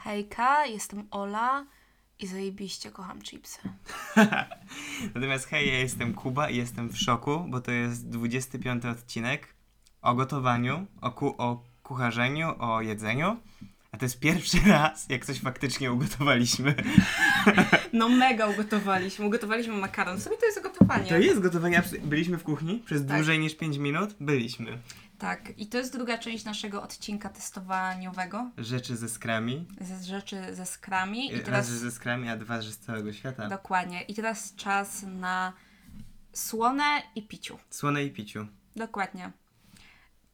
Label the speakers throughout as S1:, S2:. S1: Hejka, jestem Ola i zajebiście kocham chipsy.
S2: Natomiast hej, ja jestem Kuba i jestem w szoku, bo to jest 25 odcinek o gotowaniu, o, ku- o kucharzeniu, o jedzeniu. A to jest pierwszy raz, jak coś faktycznie ugotowaliśmy.
S3: No mega ugotowaliśmy. Ugotowaliśmy makaron. W sumie to jest gotowanie.
S2: To jest gotowanie. abs- Byliśmy w kuchni przez
S3: Tak.
S2: dłużej niż 5 minut. Byliśmy.
S3: Tak. I to jest druga część naszego odcinka testowaniowego
S2: Rzeczy ze skrami.
S3: z rzeczy ze skrami. I
S2: Raz,
S3: teraz...
S2: że ze skrami, E, a dwa, że z całego świata.
S3: Dokładnie. I teraz czas na słone i piciu.
S2: Słone i piciu.
S3: Dokładnie.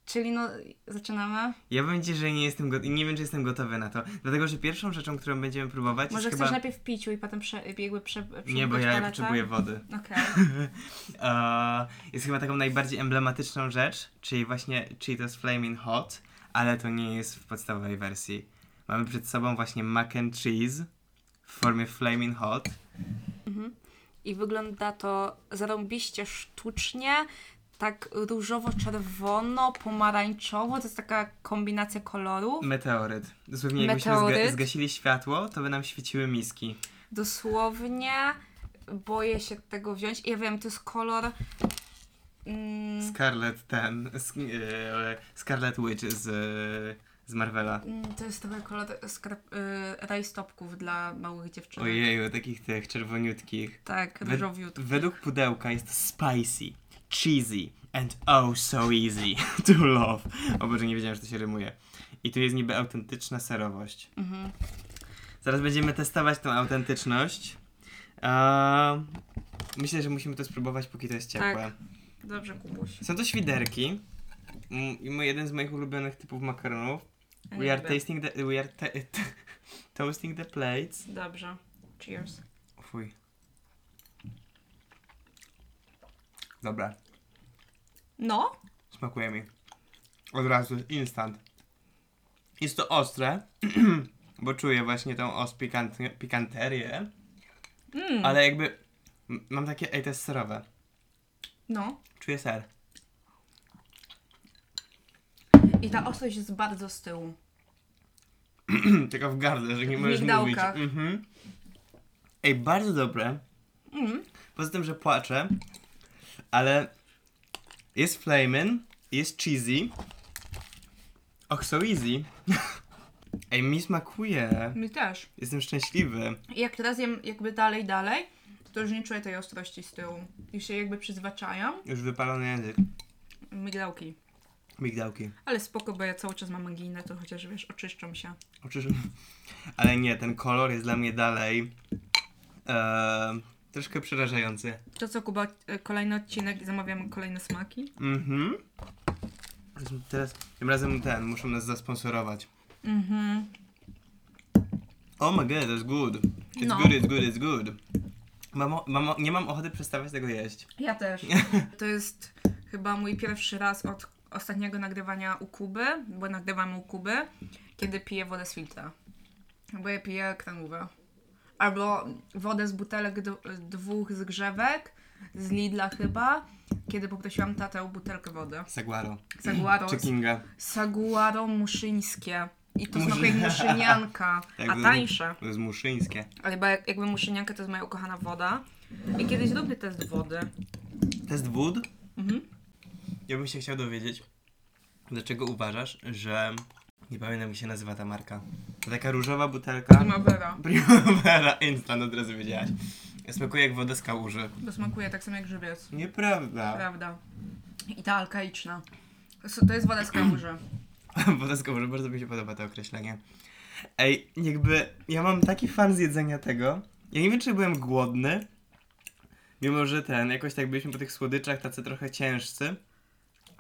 S3: Czyli no, zaczynamy.
S2: Ja powiem ci, że nie jestem gotowy, nie wiem, czy jestem gotowy na to. Dlatego, że pierwszą rzeczą, którą będziemy próbować
S3: Może
S2: jest
S3: chcesz tak?
S2: chyba...
S3: najpierw piciu i potem prze, jakby prze,
S2: Nie, bo
S3: przemknąć
S2: ja
S3: paletę?
S2: potrzebuję wody.
S3: Okej.
S2: Eee, jest chyba taką najbardziej emblematyczną rzecz, czyli właśnie Cheetos Flaming Hot, ale to nie jest w podstawowej wersji. Mamy przed sobą właśnie mac and cheese w formie Flaming Hot.
S1: I wygląda to zarąbiście sztucznie, tak różowo-czerwono, pomarańczowo, to jest taka kombinacja kolorów.
S2: Meteoryt. Dosłownie jakbyśmy zga-
S1: Meteoryt.
S2: zgasili światło, to by nam świeciły miski.
S1: Dosłownie boję się tego wziąć. Ja wiem, to jest kolor... Mm,
S2: Scarlet ten, sk- eee, Scarlet Witch z, e, z Marvela.
S1: mm, to jest trochę kolor skrap, y, rajstopków dla małych dziewczyn.
S2: Ojeju, takich tych czerwoniutkich.
S1: Tak,
S2: Wed-
S1: różowiutki.
S2: Według pudełka jest spicy, cheesy and oh so easy to love. O Boże, nie wiedziałem, że to się rymuje. I tu jest niby autentyczna serowość.
S1: Mhm.
S2: Zaraz będziemy testować tą autentyczność. Eee, myślę, że musimy to spróbować, póki to jest ciepłe.
S1: Tak. Dobrze, Kubuś.
S2: Są to świderki. Mm, I mój- jeden z moich ulubionych typów makaronów.
S1: Ja
S2: We
S1: nie
S2: are,
S1: lubię.
S2: tasting the, we are ta- toasting the plates.
S1: Dobrze. Cheers.
S2: Fuj. Dobra,
S1: No,
S2: Smakuje mi. Od razu, instant. Jest to ostre, bo czuję właśnie tą os pikantnie- pikanterię,
S1: Mm,
S2: ale jakby m- mam takie, ej, to jest serowe.
S1: no.
S2: Czuję ser.
S1: I ta ostrość jest bardzo z tyłu.
S2: Tylko w gardle, że nie
S1: W
S2: możesz mówić.
S1: migdałkach.
S2: Mhm. Ej, bardzo dobre.
S1: Mm.
S2: Poza tym, że płaczę, ale jest flamin, jest cheesy. Och, so easy. Ej, mi smakuje.
S1: Mi też.
S2: Jestem szczęśliwy.
S1: I jak teraz jem jakby dalej, dalej, to już nie czuję tej ostrości z tyłu. Już się jakby przyzwyczajam.
S2: Już wypalony język.
S1: Migdałki.
S2: Migdałki.
S1: Ale spoko, bo ja cały czas mam anginę, to chociaż wiesz, oczyszczą się.
S2: Oczyż... Ale nie, ten kolor jest dla mnie dalej e, troszkę przerażający.
S1: To co, Kuba, e, kolejny odcinek i zamawiamy kolejne smaki?
S2: Mhm. Teraz tym razem ten, muszą nas zasponsorować.
S1: Mhm.
S2: Oh my god, that's good. It's
S1: No.
S2: good, it's good, it's good. Mam, o- mam, o- nie mam ochoty przestawać tego jeść.
S1: Ja też. To jest chyba mój pierwszy raz od ostatniego nagrywania u Kuby, bo nagrywam u Kuby, kiedy piję wodę z filtra. Bo ja piję kremówę. Albo wodę z butelek d- dwóch zgrzewek, z Lidla chyba, kiedy poprosiłam tatę o butelkę wody.
S2: Saguaro.
S1: Saguaro.
S2: Czy Kinga.
S1: Saguaro muszyńskie. I to
S2: Muszy-
S1: smakuje jak muszynianka, a
S2: Jakby-
S1: tańsze.
S2: To jest muszyńskie.
S1: Ale ba- jakby muszynianka to jest moja ukochana woda. I kiedyś robię test wody.
S2: Test wód?
S1: Mhm.
S2: Ja bym się chciał dowiedzieć, dlaczego uważasz, że... Nie pamiętam jak się nazywa ta marka. To taka różowa butelka.
S1: No. Primavera.
S2: Primavera instant, od razu wiedziałaś. Smakuje jak woda z kałuży.
S1: To smakuje tak samo jak grzybiec.
S2: Nieprawda.
S1: Prawda. I ta alkaiczna. S- To jest woda z kałuży.
S2: woda z kałuży, bardzo mi się podoba to określenie. Ej, jakby ja mam taki fan z jedzenia tego. Ja nie wiem, czy byłem głodny. Mimo, że ten, jakoś tak byliśmy po tych słodyczach tacy trochę ciężcy.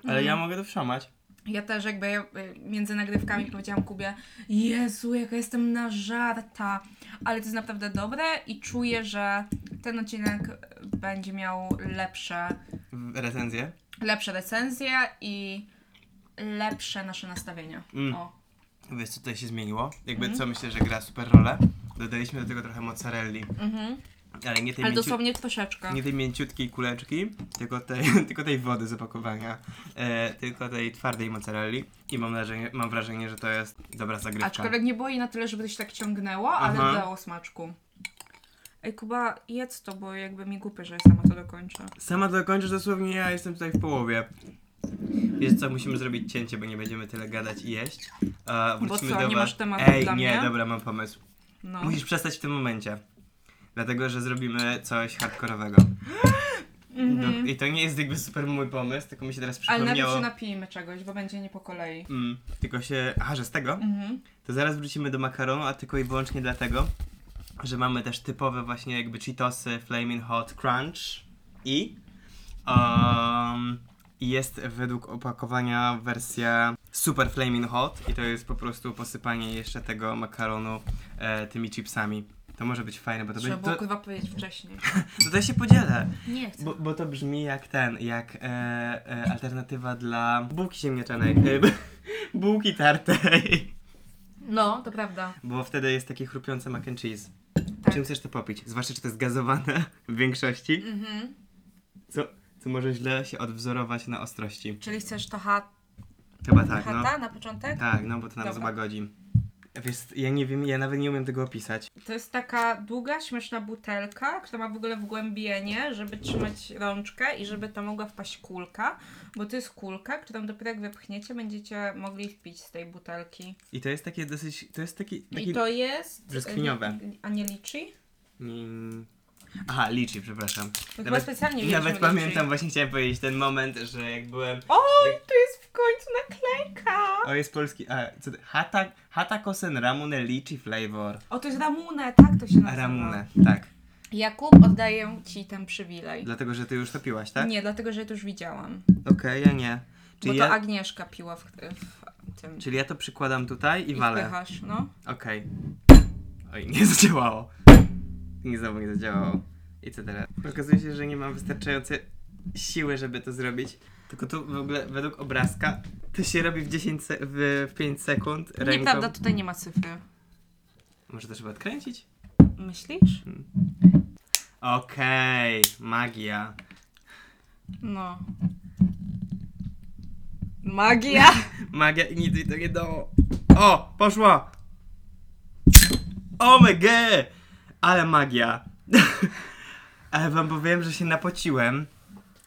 S2: Ale ja mogę to wszamać.
S1: Ja też jakby ja, y, między nagrywkami powiedziałam Kubie Jezu, jaka jestem nażarta. Ale to jest naprawdę dobre i czuję, że ten odcinek y, będzie miał lepsze,
S2: W- Recenzję.
S1: lepsze recenzje i lepsze nasze nastawienie.
S2: Mm.
S1: O.
S2: Wiesz,
S1: Mhm.
S2: co tutaj się zmieniło? Jakby co myślę, że gra super rolę. Dodaliśmy do tego trochę mozzarelli.
S1: Mhm.
S2: Ale nie tej,
S1: Ale
S2: mięciu...
S1: dosłownie troszeczkę.
S2: nie tej mięciutkiej kuleczki, tylko tej, tylko tej wody z opakowania. E, tylko tej twardej mozzarelli. I mam wrażenie, mam wrażenie, że to jest dobra zagrywka.
S1: Aczkolwiek nie było jej na tyle, żeby to się tak ciągnęło, ale
S2: Aha.
S1: dało smaczku. Ej, Kuba, jedz to, bo jakby mi głupie, że sama to dokończę.
S2: Sama to kończysz dosłownie, ja jestem tutaj w połowie. Wiesz co, musimy zrobić cięcie, bo nie będziemy tyle gadać i jeść. A wrócimy
S1: co,
S2: do
S1: nie
S2: was.
S1: masz tematu
S2: Ej,
S1: dla
S2: nie,
S1: mnie?
S2: dobra, mam pomysł.
S1: No.
S2: Musisz przestać w tym momencie. Dlatego, że zrobimy coś hardkorowego. Do, I to nie jest jakby super mój pomysł, tylko mi się teraz
S1: Ale Mhm. najpierw
S2: no, przypomniało.
S1: się napijmy czegoś, bo będzie nie po kolei.
S2: Mm, tylko się. Aha, że z tego?
S1: Mhm.
S2: No, To zaraz wrócimy do makaronu, a tylko i wyłącznie dlatego, że mamy też typowe właśnie jakby Cheetosy, Flaming Hot Crunch i um, jest według opakowania wersja Super Flaming Hot i to jest po prostu posypanie jeszcze tego makaronu e, tymi chipsami. To może być fajne, bo to
S1: Trzeba
S2: będzie...
S1: było
S2: To,
S1: kurwa powiedzieć wcześniej.
S2: to, ja się podzielę,
S1: Nie chcę.
S2: bo, bo to brzmi jak ten, jak e, e, alternatywa dla bułki ziemniaczanej, e, bu- bułki tartej.
S1: No, to prawda.
S2: Bo wtedy jest takie chrupiące mac and cheese.
S1: Tak.
S2: Czym chcesz to popić? Zwłaszcza, czy to jest gazowane w większości,
S1: Mhm.
S2: co, co może źle się odwzorować na ostrości.
S1: Czyli chcesz to ha-
S2: Chyba tak, no.
S1: hata na początek?
S2: Tak, no, bo to nam
S1: Dobra.
S2: złagodzi. Wiesz, ja nie wiem, ja nawet nie umiem tego opisać.
S1: To jest taka długa, śmieszna butelka, która ma w ogóle wgłębienie, żeby trzymać rączkę i żeby tam mogła wpaść kulka, bo to jest kulka, którą dopiero jak wypchniecie, będziecie mogli wpić z tej butelki.
S2: I to jest takie dosyć, to jest taki... taki...
S1: I to jest... y,
S2: brzoskwiniowe.
S1: A nie liczy?
S2: Mm. Aha, liczy, przepraszam.
S1: chyba specjalnie wzięliśmy
S2: Nawet
S1: liczy.
S2: pamiętam, właśnie chciałem powiedzieć ten moment, że jak byłem...
S1: Oj, tu jest w końcu naklejka!
S2: O, jest polski... A, co to? Hata, hata kosen ramune liczy flavor.
S1: O, to jest Ramune, tak to się nazywa.
S2: Ramune, tak.
S1: Jakub, oddaję Ci ten przywilej.
S2: Dlatego, że ty już to piłaś, tak?
S1: Nie, dlatego, że ja to już widziałam.
S2: Okej, ja nie.
S1: Bo
S2: Czyli
S1: to
S2: ja,
S1: Agnieszka piła w, w tym.
S2: czyli ja to przykładam tutaj i
S1: I
S2: walę.
S1: wpychasz, no.
S2: Okej. Oj, nie zadziałało. Nie znowu nie zadziałało. I co teraz? Okazuje się, że nie mam wystarczającej siły, żeby to zrobić. Tylko tu w ogóle według obrazka to się robi w 10 se- w, w 5 sekund ręką.
S1: Nieprawda, tutaj nie ma cyfry.
S2: Może to trzeba odkręcić?
S1: Myślisz?
S2: Hmm. Okej, magia.
S1: No. Magia!
S2: Magia i nic mi to nie dało. O, poszła! Omega! Ale magia. Ale wam powiem, że się napociłem,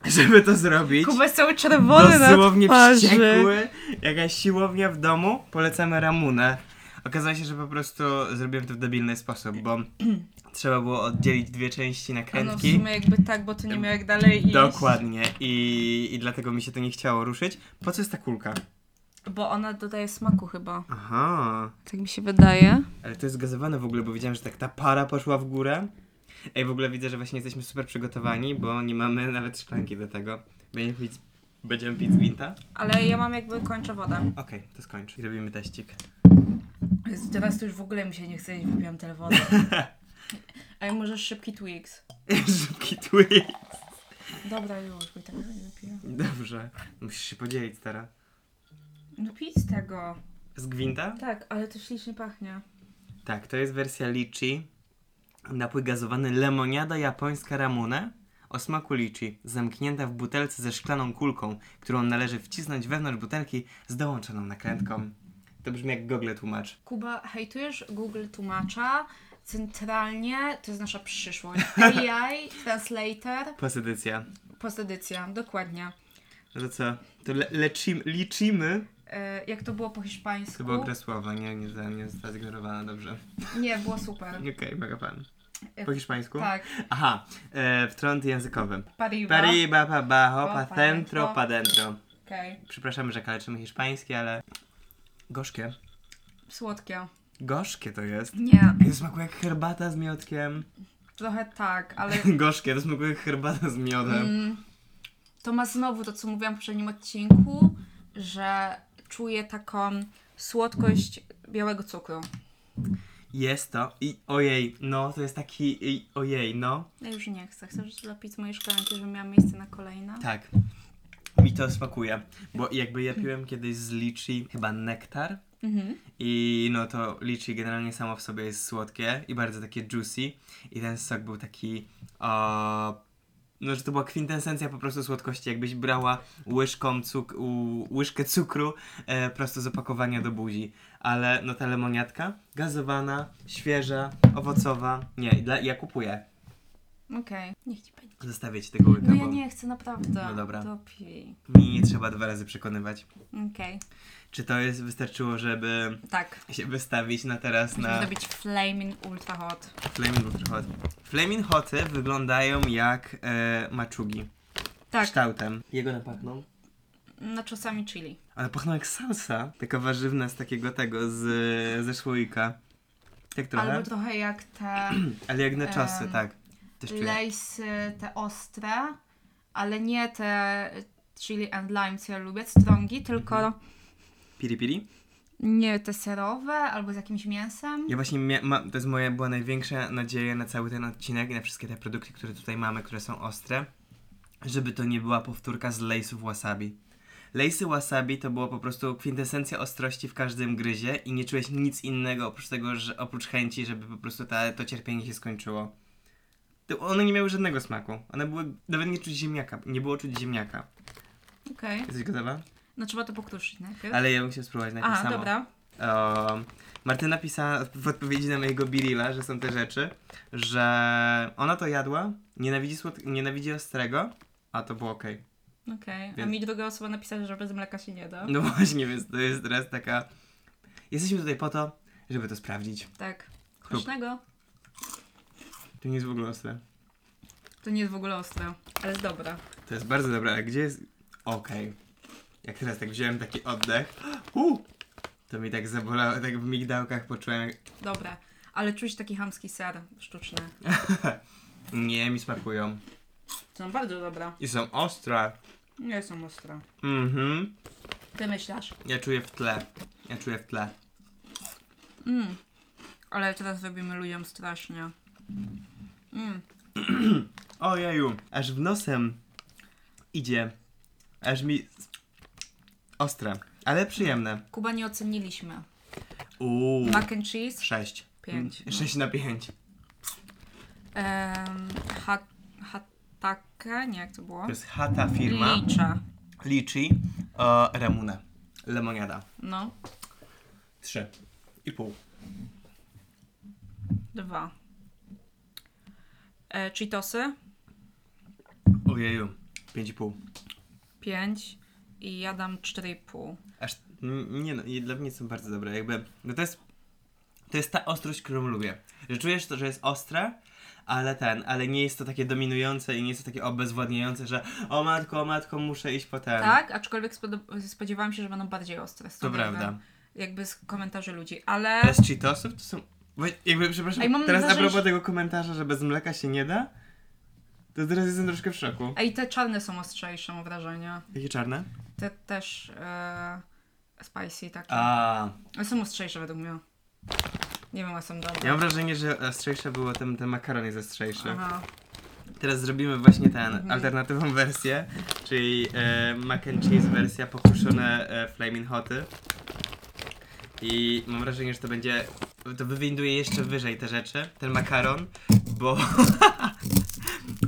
S2: żeby to zrobić.
S1: Kuba jest cały czerwony na
S2: Dosłownie
S1: twarzy. No,
S2: wściekły. Jakaś siłownia w domu, polecamy Ramunę. Okazało się, że po prostu zrobiłem to w debilny sposób, bo trzeba było oddzielić dwie części
S1: A No w
S2: nakrętki.
S1: sumie jakby tak, bo to nie miał jak dalej iść.
S2: Dokładnie. I, I dlatego mi się to nie chciało ruszyć. Po co jest ta kulka?
S1: Bo ona dodaje smaku chyba.
S2: Aha.
S1: Tak mi się wydaje.
S2: Ale to jest gazowane w ogóle, bo widziałem, że tak ta para poszła w górę. Ej, w ogóle widzę, że właśnie jesteśmy super przygotowani, bo nie mamy nawet szklanki do tego. Będziemy pić, będziemy pić z gwinta?
S1: Ale ja mam jakby kończę wodę.
S2: Okej, to skończ. I robimy teścik.
S1: Jezu, teraz to już w ogóle mi się nie chce, jeść, wypiłam tyle wody. Ej, może szybki Twix.
S2: Szybki tweet.
S1: Dobra, już, bo i tak nie wypiję.
S2: Dobrze. Musisz się podzielić, stara.
S1: No pić z tego.
S2: Z gwinta?
S1: Tak, ale to ślicznie pachnie.
S2: Tak, to jest wersja lichi. Napój gazowany lemoniada japońska ramune o smaku lichi, zamknięta w butelce ze szklaną kulką, którą należy wcisnąć wewnątrz butelki z dołączoną nakrętką. To brzmi jak gogle tłumacz.
S1: Kuba, hejtujesz Google tłumacza. Centralnie to jest nasza przyszłość. AI, translator,
S2: Posedycja.
S1: postedycja, dokładnie.
S2: No to co? To le- lecim- liczymy.
S1: E, jak to było po hiszpańsku?
S2: To była gra słowa, nie, nie, została- nie została zignorowana, dobrze.
S1: Nie, było super.
S2: Okej, mega pan. Po hiszpańsku?
S1: Tak,
S2: Aha, e, wtrąd językowy.
S1: pariba.
S2: Pariba, pa, baho, pa,
S1: Pa,
S2: centro,
S1: dentro.
S2: pa, dentro.
S1: Okej,
S2: Przepraszamy, że kaleczymy hiszpański, ale... Gorzkie.
S1: słodkie.
S2: Gorzkie to jest.
S1: Nie,
S2: I to smakuje jak herbata z miodkiem.
S1: trochę tak, ale
S2: Gorzkie, to smakuje jak herbata z miodem.
S1: Mm, to ma znowu to, co mówiłam w poprzednim odcinku, że czuję taką słodkość białego cukru.
S2: Jest to i ojej, no, to jest taki i, ojej, no.
S1: Ja już nie chcę. Chcesz zapić z mojej szklanki, żebym miała miejsce na kolejne?
S2: Tak. Mi to smakuje, bo jakby ja piłem kiedyś z liczy chyba nektar
S1: Mhm.
S2: I no to liczy generalnie samo w sobie jest słodkie i bardzo takie juicy. I ten sok był taki. O, no, że to była kwintesencja po prostu słodkości. Jakbyś brała łyżką cuk u, łyżkę cukru e, prosto z opakowania do buzi. Ale no ta lemoniatka gazowana, świeża, owocowa. Nie, dla, ja kupuję.
S1: Okej.
S4: Niech ci pani.
S2: Zostawię ci tego łyka,
S1: No ja
S2: bo
S1: nie chcę, naprawdę.
S2: No dobra.
S1: To pij.
S2: mi nie trzeba dwa razy przekonywać.
S1: Okej.
S2: Czy to jest wystarczyło, żeby
S1: Tak.
S2: się wystawić na teraz
S1: Musimy
S2: na.
S1: zrobić flaming ultra hot.
S2: Flaming Ultra Hot. Flaming Hoty wyglądają jak e, maczugi.
S1: Tak.
S2: Kształtem. Jego napachną?
S1: No czasami chili.
S2: Ale pachną jak salsa. Taka warzywna z takiego tego, z, ze słoika. Tak trochę?
S1: Albo trochę jak te
S2: Ale jak na czasy,
S1: em,
S2: tak. Też czuję.
S1: lejsy, te ostre, ale nie te chili and lime, co ja lubię, strągi,
S2: Mhm.
S1: tylko
S2: Piri piri?
S1: nie te serowe albo z jakimś mięsem.
S2: Ja właśnie, mia- ma, to jest moja, była największa nadzieja na cały ten odcinek i na wszystkie te produkty, które tutaj mamy, które są ostre, żeby to nie była powtórka z lejsów wasabi. Lejsy wasabi to była po prostu kwintesencja ostrości w każdym gryzie i nie czułeś nic innego oprócz tego, że, oprócz chęci, żeby po prostu ta, to cierpienie się skończyło. To one nie miały żadnego smaku. One były, nawet nie czuć ziemniaka, nie było czuć ziemniaka.
S1: Okej.
S2: Jesteś gotowa?
S1: No trzeba to pokruszyć najpierw.
S2: Ale ja bym chciał spróbować najpierw
S1: Aha,
S2: samo.
S1: dobra.
S2: Um, Martyna pisała w odpowiedzi na mojego birilla, że są te rzeczy, że ona to jadła, nienawidzi, słod- nienawidzi ostrego, a to było okej.
S1: Okej. A
S2: Więc-
S1: mi druga osoba napisała, że bez mleka się nie da.
S2: No właśnie, więc to jest teraz taka... Jesteśmy tutaj po to, żeby to sprawdzić.
S1: Tak. Pysznego.
S2: To nie jest w ogóle ostre.
S1: To nie jest w ogóle ostre, ale jest dobre.
S2: To jest bardzo dobre, ale gdzie jest... Okej. Jak teraz tak wziąłem taki oddech, uh, to mi tak zabolało, tak w migdałkach poczułem, jak...
S1: Dobre. Ale czuć taki hamski ser sztuczny.
S2: nie, mi smakują.
S1: Są bardzo dobre.
S2: I są ostre.
S1: Nie są ostre.
S2: Mhm.
S1: Ty myślasz?
S2: Ja czuję w tle. Ja czuję w tle.
S1: Mm. Ale teraz robimy ludziom strasznie. Mm.
S2: Ojeju, aż w nosem idzie. Aż mi. Ostre, ale przyjemne.
S1: Kuba nie oceniliśmy.
S2: Uuu.
S1: Mac and cheese?
S2: 6.
S1: Pięć.
S2: 6 na 5.
S1: Um, ha, hatake? Nie, jak to było?
S2: To jest chata firma.
S1: Licza.
S2: Liczy. E, Ramuna. Lemoniada.
S1: No,
S2: 3. I pół.
S1: dwa. E, Cheetosy?
S2: Ojeju. 5,5.
S1: Pięć. I ja dam cztery i pół.
S2: Aż. n- Nie no, i dla mnie są bardzo dobre. Jakby. No to jest. To jest ta ostrość, którą lubię. Że czujesz to, że jest ostre, ale ten, ale nie jest to takie dominujące i nie jest to takie obezwładniające, że o matko, o matko, muszę iść po ten.
S1: Tak, aczkolwiek spodo- spodziewałam się, że będą bardziej ostre.
S2: To
S1: stąd
S2: prawda.
S1: jakby- Jakby z komentarzy ludzi, ale...
S2: Bez cheatosów to są. Woj- Jakby, przepraszam,
S1: Ej, mam
S2: teraz a
S1: wrażenie,
S2: propos
S1: że-
S2: tego komentarza, że bez mleka się nie da, to teraz jestem troszkę w szoku.
S1: Ej, te czarne są ostrzejsze, mam wrażenie.
S2: Jakie czarne?
S1: Te też e, spicy takie.
S2: A,
S1: Ale Są ostrzejsze według mnie. Nie wiem, a są dobre.
S2: ja mam wrażenie, że ostrzejsze było, ten, ten makaron jest ostrzejszy.
S1: Aha.
S2: Teraz zrobimy właśnie tę alternatywną wersję, czyli e, mac and cheese wersja pokruszone e, flaming hoty. I mam wrażenie, że to będzie, to wywinduje jeszcze wyżej te rzeczy, ten makaron, bo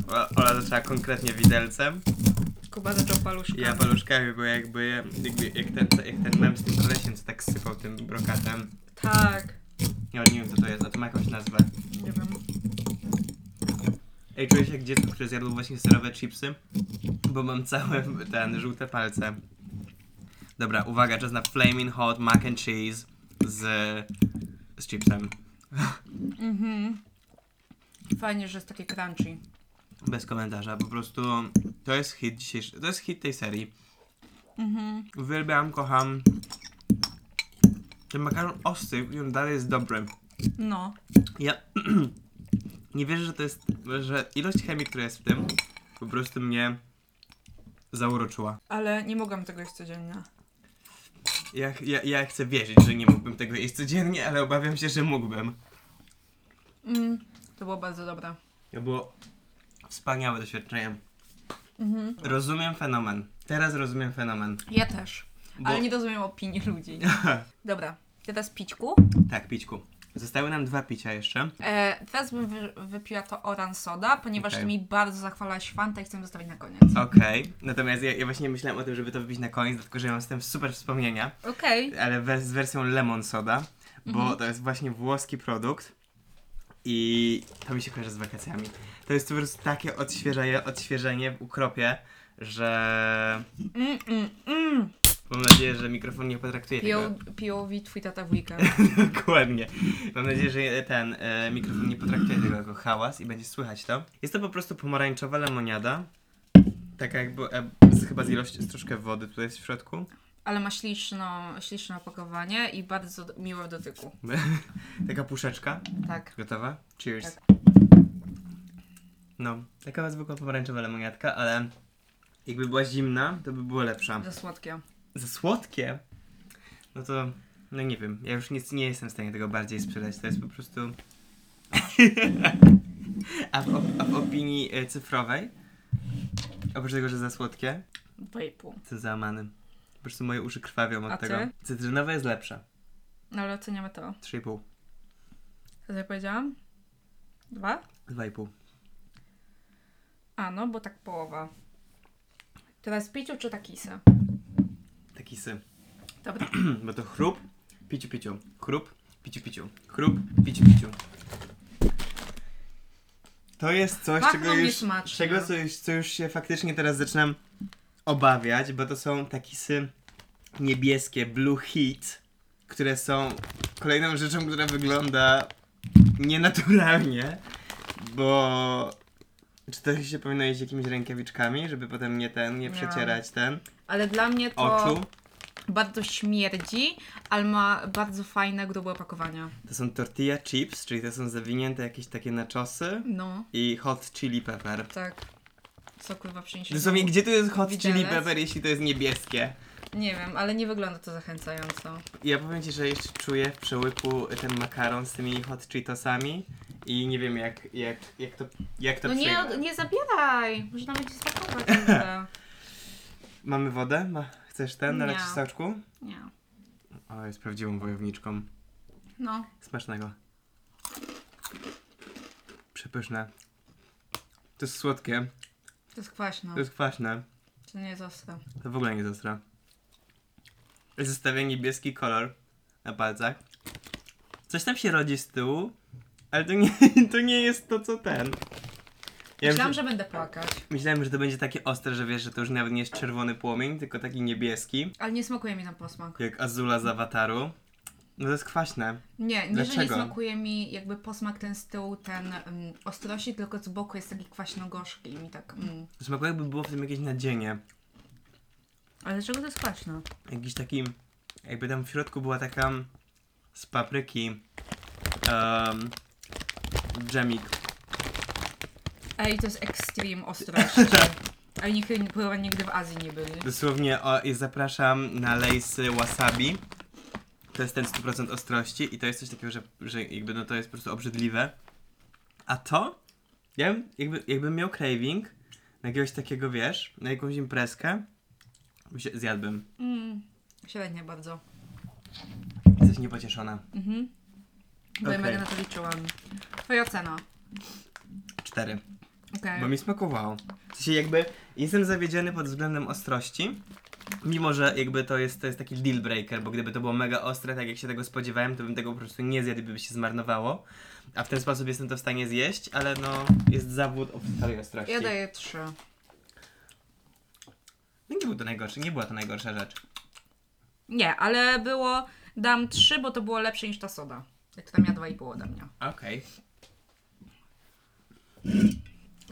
S2: O- Ola zaczęła konkretnie widelcem,
S1: Kuba zaczął paluszkami.
S2: ja paluszkami, bo jakby, jakby jak, ten, jak ten mem z tym kolesiem, co tak sypał tym brokatem.
S1: Tak.
S2: Ja nie wiem co to jest, a to ma jakąś nazwę.
S1: Nie wiem.
S2: Ej, czuję się jak dziecko, które zjadło właśnie serowe chipsy, bo mam całe ten żółte palce. Dobra, uwaga, czas na flaming hot mac and cheese z, z chipsem.
S1: Mhm. Fajnie, że jest takie crunchy.
S2: Bez komentarza, po prostu to jest hit dzisiejszy, to jest hit tej serii.
S1: Mhm.
S2: Uwielbiam, kocham. Ten makaron ostry i on dalej jest dobry.
S1: No.
S2: Ja nie wierzę, że to jest, że ilość chemii, która jest w tym, po prostu mnie zauroczyła.
S1: Ale nie mogłam tego jeść codziennie.
S2: Ja, ja, ja chcę wierzyć, że nie mógłbym tego jeść codziennie, ale obawiam się, że mógłbym.
S1: Mm. To było bardzo dobre.
S2: To było wspaniałe doświadczenie.
S1: Mhm.
S2: Rozumiem fenomen. Teraz rozumiem fenomen.
S1: Ja też.
S2: Bo...
S1: Ale nie rozumiem opinii ludzi. Dobra, teraz pićku.
S2: Tak, pićku. Zostały nam dwa picia jeszcze.
S1: E, teraz bym wy, wypiła to oran soda, ponieważ
S2: Okej.
S1: ty mi bardzo zachwalałaś Fanta i chcę ją zostawić na koniec.
S2: Okej, natomiast ja, ja właśnie myślałem o tym, żeby to wybić na koniec, dlatego że ja mam z tym super wspomnienia,
S1: Okej.
S2: ale we, z wersją lemon soda, bo
S1: Mhm.
S2: to jest właśnie włoski produkt i to mi się kojarzy z wakacjami. To jest po prostu takie odświeżenie, odświeżenie w ukropie, że
S1: Mm, mm, mm.
S2: mam nadzieję, że mikrofon nie potraktuje tego.
S1: Piją, piją wi twój tata w weekend.
S2: Dokładnie. Mam nadzieję, że ten e, mikrofon nie potraktuje tego jako hałas i będzie słychać to. Jest to po prostu pomarańczowa lemoniada. Taka jakby e, z, chyba z ilości, z troszkę wody tutaj jest w środku.
S1: Ale ma śliczną, śliczne opakowanie i bardzo d- miłe w dotyku.
S2: Taka puszeczka.
S1: Tak.
S2: Gotowa? Cheers. No, taka zwykła pomarańczowa lemoniadka, ale jakby była zimna, to by była lepsza.
S1: Za słodkie.
S2: Za słodkie? No to, no nie wiem, ja już nic nie jestem w stanie tego bardziej sprzedać, to jest po prostu... a, w, op- a w opinii e, cyfrowej, oprócz tego, że za słodkie,
S1: Dwa i pół.
S2: to za amany. Po prostu moje uszy krwawią od
S1: A
S2: tego.
S1: ty?
S2: Cytrynowa jest lepsza.
S1: No ale oceniamy to.
S2: 3,5.
S1: Co ja powiedziałam? Dwa?
S2: 2,5.
S1: A no, bo tak połowa. Teraz piciu czy takisy?
S2: Taki sy.
S1: Dobra.
S2: Hmm, Bo to chrup, piciu piciu, chrup, piciu piciu, chrup, piciu piciu. To jest coś,
S1: Pachną
S2: czego już,
S1: niesmacznie.
S2: czego co już, co już się faktycznie teraz zaczynam obawiać, bo to są takisy niebieskie, blue heat, które są kolejną rzeczą, która wygląda nienaturalnie, bo czy to się powinno jeść jakimiś rękawiczkami, żeby potem nie ten, nie
S1: Nie.
S2: przecierać ten
S1: Ale dla mnie to
S2: oczu?
S1: bardzo śmierdzi, ale ma bardzo fajne, grube opakowania.
S2: To są tortilla chips, czyli to są zawinięte jakieś takie naczosy
S1: No,
S2: i hot chili pepper.
S1: tak. Co kurwa przyniesie?
S2: Dosłownie, gdzie tu jest hot chili
S1: Widelec?
S2: pepper, jeśli to jest niebieskie?
S1: Nie wiem, ale nie wygląda to zachęcająco.
S2: Ja powiem ci, że jeszcze czuję w przełyku ten makaron z tymi hot cheetosami i nie wiem jak, jak, jak to, jak to
S1: No nie,
S2: przyjmę.
S1: nie zabieraj! Może nawet ci smakować. kurde.
S2: Mamy wodę? Ma, chcesz ten? Nalać
S1: Nie.
S2: w soczku?
S1: Nie.
S2: O, jest prawdziwą wojowniczką.
S1: No.
S2: Smacznego. Przepyszne. To jest słodkie,
S1: To jest kwaśno.
S2: to jest kwaśne.
S1: To nie jest ostre.
S2: To w ogóle nie zastra. Zostawia niebieski kolor na palcach. Coś tam się rodzi z tyłu, ale to nie, to nie jest to, co ten. Ja
S1: Myślałam,
S2: myśl-
S1: że będę płakać,
S2: myślałem, że to będzie takie ostre, że wiesz, że to już nawet nie jest czerwony płomień, tylko taki niebieski,
S1: ale nie smakuje mi ten posmak.
S2: jak Azula z Awataru. No to jest kwaśne.
S1: Nie, nie, że nie
S2: Dlaczego?
S1: smakuje mi jakby posmak ten z tyłu, ten mm, ostrości, tylko z boku jest taki kwaśno-gorzki i mi tak... Mm.
S2: Smakuje jakby było w tym jakieś nadzienie.
S1: Ale dlaczego to jest kwaśne?
S2: Jakiś taki, jakby tam w środku była taka z papryki um, dżemik.
S1: Ej, to jest extreme ostrość.
S2: Tak.
S1: Ale nikt nie chyba nigdy w Azji nie byli.
S2: Dosłownie o, i zapraszam na lejsy wasabi. To jest ten 100% ostrości i to jest coś takiego, że, że jakby no to jest po prostu obrzydliwe. A to? Ja bym, jakby, jakbym miał craving na jakiegoś takiego, wiesz, na jakąś imprezkę, bym się- zjadłbym.
S1: Mm, średnie bardzo.
S2: Jesteś niepocieszona.
S1: Mhm. Bo ja
S2: Okej.
S1: mega na to liczyłam. Twoja ocena.
S2: Cztery.
S1: Okej.
S2: Bo mi smakowało. W sensie jakby jestem zawiedziony pod względem ostrości. Mimo, że jakby to jest, to jest taki deal breaker, bo gdyby to było mega ostre, tak jak się tego spodziewałem, to bym tego po prostu nie zjadł, by się zmarnowało. A w ten sposób jestem to w stanie zjeść, ale no jest zawód o całej ostrości.
S1: Ja daję trzy.
S2: No nie był to najgorszy, nie była to najgorsza rzecz.
S1: Nie, ale było... Dam trzy, bo to było lepsze niż ta soda. Która miała dwa i pół ode mnie.
S2: Okej.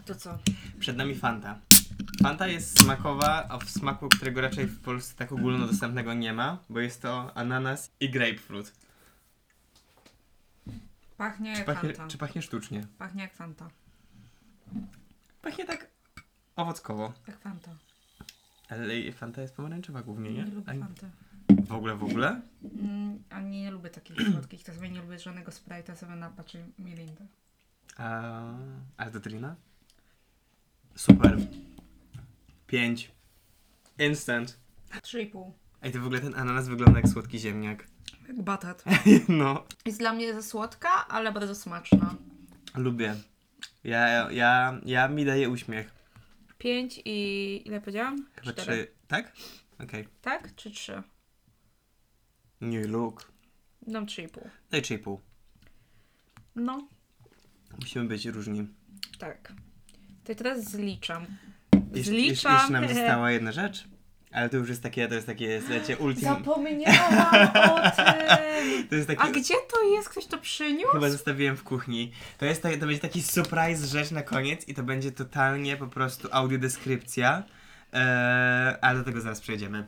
S1: To co?
S2: Przed nami Fanta. Fanta jest smakowa, a w smaku, którego raczej w Polsce tak ogólnodostępnego nie ma, bo jest to ananas i grapefruit.
S1: Pachnie
S2: Czy
S1: jak
S2: pachnie,
S1: Fanta.
S2: czy pachnie sztucznie?
S1: Pachnie jak Fanta.
S2: Pachnie tak owockowo.
S1: Jak Fanta.
S2: Ale i Fanta jest pomarańczowa głównie,
S1: Nie
S2: nie?
S1: lubię
S2: Ani-
S1: Fanty.
S2: W ogóle, w ogóle?
S1: Mm, ani nie lubię takich słodkich. To sobie nie lubię żadnego Sprite'a, sobie napaczy Mirinda.
S2: A, a Dotrina? Super. 5. Instant.
S1: Trzy i pół.
S2: Ej, to w ogóle ten ananas wygląda jak słodki ziemniak.
S1: Jak batat.
S2: no,
S1: Jest dla mnie za słodka, ale bardzo smaczna.
S2: lubię. Ja, ja, ja mi daje uśmiech.
S1: Pięć i ile powiedziałam?
S2: Chyba
S1: Cztery.
S2: trzy. Tak? Okej.
S1: Tak? Czy trzy?
S2: Nie, Luke.
S1: Dam No, trzy i pół.
S2: Daj 3,5.
S1: No,
S2: Musimy być różni.
S1: tak. To teraz zliczam.
S2: Jeszcze, jeszcze,
S1: Zliczam.
S2: jeszcze nam została jedna rzecz. Ale to już jest takie, to jest takie, lecie ultim.
S1: Zapomniałam o tym!
S2: To jest
S1: A
S2: takie,
S1: gdzie to jest? Ktoś to przyniósł?
S2: chyba zostawiłem w kuchni. To jest tak, to będzie taki surprise rzecz na koniec i to będzie totalnie po prostu audiodeskrypcja. Eee, ale do tego zaraz przejdziemy.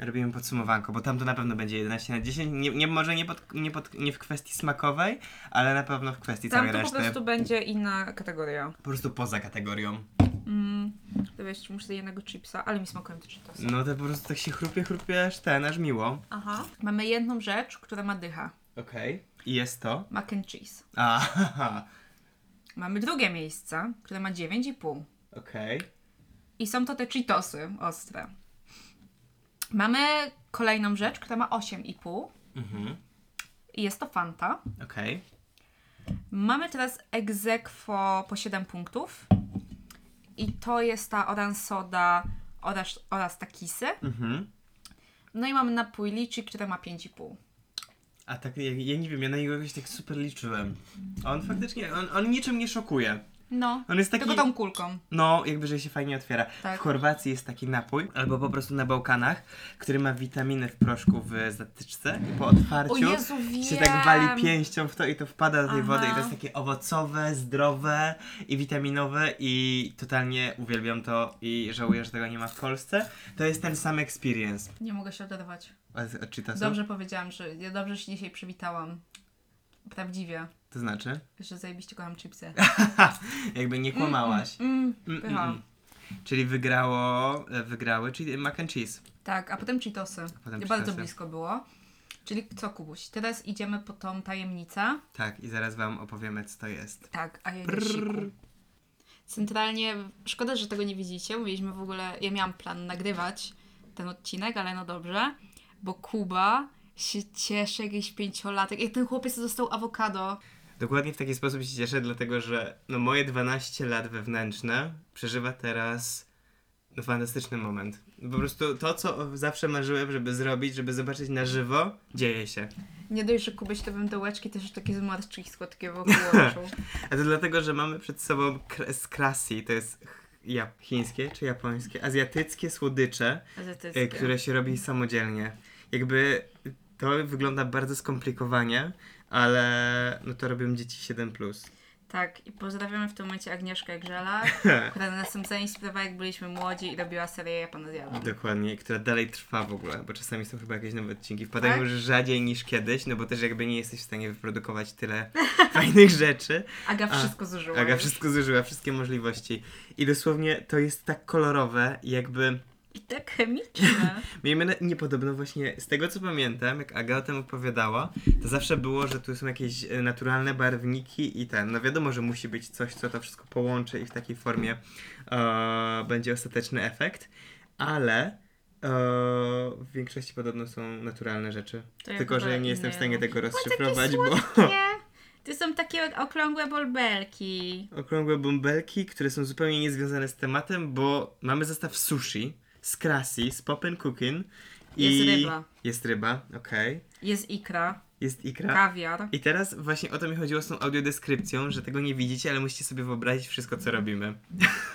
S2: Robimy podsumowanko, bo tam to na pewno będzie 11 na 10. Nie, nie, może nie, pod, nie, pod, nie w kwestii smakowej, ale na pewno w kwestii
S1: Tam
S2: całej
S1: to po
S2: reszty.
S1: prostu będzie inna kategoria.
S2: po prostu poza kategorią.
S1: Mm, to wiesz, muszę zjeść jednego chipsa, ale mi smakują te chipsy.
S2: No to po prostu tak się chrupie, chrupie, aż ten, aż miło.
S1: Aha. Mamy jedną rzecz, która ma dycha.
S2: Okej. I jest to?
S1: Mac and cheese.
S2: A,
S1: Mamy drugie miejsce, które ma 9,5.
S2: okej.
S1: I są to te Cheetosy ostre. Mamy kolejną rzecz, która ma 8,5
S2: Mhm.
S1: i jest to Fanta.
S2: Okej.
S1: Mamy teraz egzekwo po 7 punktów i to jest ta orange soda oraz, oraz takisy.
S2: Mhm.
S1: No i mamy napój liczy, które ma 5,5.
S2: A tak, ja, ja nie wiem, ja na niego jakoś tak super liczyłem. A On faktycznie, on, on niczym nie szokuje.
S1: No,
S2: On jest taki...
S1: tylko tą kulką.
S2: No, jakby, że się fajnie otwiera.
S1: Tak.
S2: W Chorwacji jest taki napój, albo po prostu na Bałkanach, który ma witaminy w proszku w zatyczce i po otwarciu
S1: O Jezu, wiem!
S2: się tak wali pięścią w to i to wpada do tej
S1: Aha.
S2: wody i to jest takie owocowe, zdrowe i witaminowe i totalnie uwielbiam to i żałuję, że tego nie ma w Polsce. To jest ten sam experience.
S1: Nie mogę się oderwać.
S2: Od, od Cheetosów?
S1: Dobrze powiedziałam, że ja dobrze się dzisiaj przywitałam. Prawdziwie,
S2: To znaczy?
S1: że zajebiście kocham chipsy.
S2: Jakby nie kłamałaś.
S1: Mm,
S2: Mm,
S1: pycha.
S2: mm, mm. Czyli wygrało, e, wygrały czyli mac and cheese.
S1: Tak, a potem Cheetosy.
S2: potem
S1: Bardzo
S2: Cheetosy.
S1: blisko było. Czyli co, Kubuś? Teraz idziemy po tą tajemnicę.
S2: Tak, i zaraz wam opowiemy, co to jest.
S1: Tak, a ja
S2: Prrr.
S1: Prrr. Centralnie, szkoda, że tego nie widzicie. Mówiliśmy w ogóle, ja miałam plan nagrywać ten odcinek, ale no dobrze, bo Kuba się cieszy jakiś pięciolatek. Jak ten chłopiec dostał awokado.
S2: Dokładnie w taki sposób się cieszę, dlatego że no, moje 12 lat wewnętrzne przeżywa teraz no, fantastyczny moment. Po prostu to, co zawsze marzyłem, żeby zrobić, żeby zobaczyć na żywo, dzieje się.
S1: Nie dość, że Kubuś to bym dołeczki też takie zmarszczysko takie wokół oczu.
S2: A to dlatego, że mamy przed sobą kr- z krasi, to jest ch- ja- chińskie czy japońskie, azjatyckie słodycze, e,
S1: Azjatyckie.
S2: które się robi samodzielnie. Jakby to wygląda bardzo skomplikowanie, ale no to robią dzieci 7+.
S1: Tak, i pozdrawiamy w tym momencie Agnieszkę Grzela, która nas tym zainspirowała, jak byliśmy młodzi i robiła serię Japona Zjadła.
S2: Mhm. Dokładnie, która dalej trwa w ogóle, bo czasami są chyba jakieś nowe odcinki. Wpadają
S1: Tak?
S2: już rzadziej niż kiedyś, no bo też jakby nie jesteś w stanie wyprodukować tyle fajnych rzeczy.
S1: Aga
S2: A,
S1: wszystko zużyła.
S2: Aga
S1: już.
S2: wszystko zużyła, wszystkie możliwości. I dosłownie to jest tak kolorowe, jakby...
S1: I tak chemiczne.
S2: Miejmy na... niepodobno właśnie, z tego co pamiętam, jak Aga o tym opowiadała, to zawsze było, że tu są jakieś e, naturalne barwniki i ten, no wiadomo, że musi być coś, co to wszystko połączy i w takiej formie e, będzie ostateczny efekt, ale e, w większości podobno są naturalne rzeczy.
S1: To ja
S2: Tylko, że
S1: chyba
S2: ja nie jestem w stanie
S1: inne.
S2: tego rozszyfrować, bo
S1: Nie. To są takie okrągłe bolbelki.
S2: okrągłe bąbelki, które są zupełnie niezwiązane z tematem, bo mamy zestaw sushi z krasi, z pop'n cookin i...
S1: Jest ryba.
S2: Jest ryba, okej.
S1: Jest ikra,
S2: Jest ikra.
S1: kawiar.
S2: I teraz właśnie o to mi chodziło z tą audiodeskrypcją, że tego nie widzicie, ale musicie sobie wyobrazić wszystko, co robimy.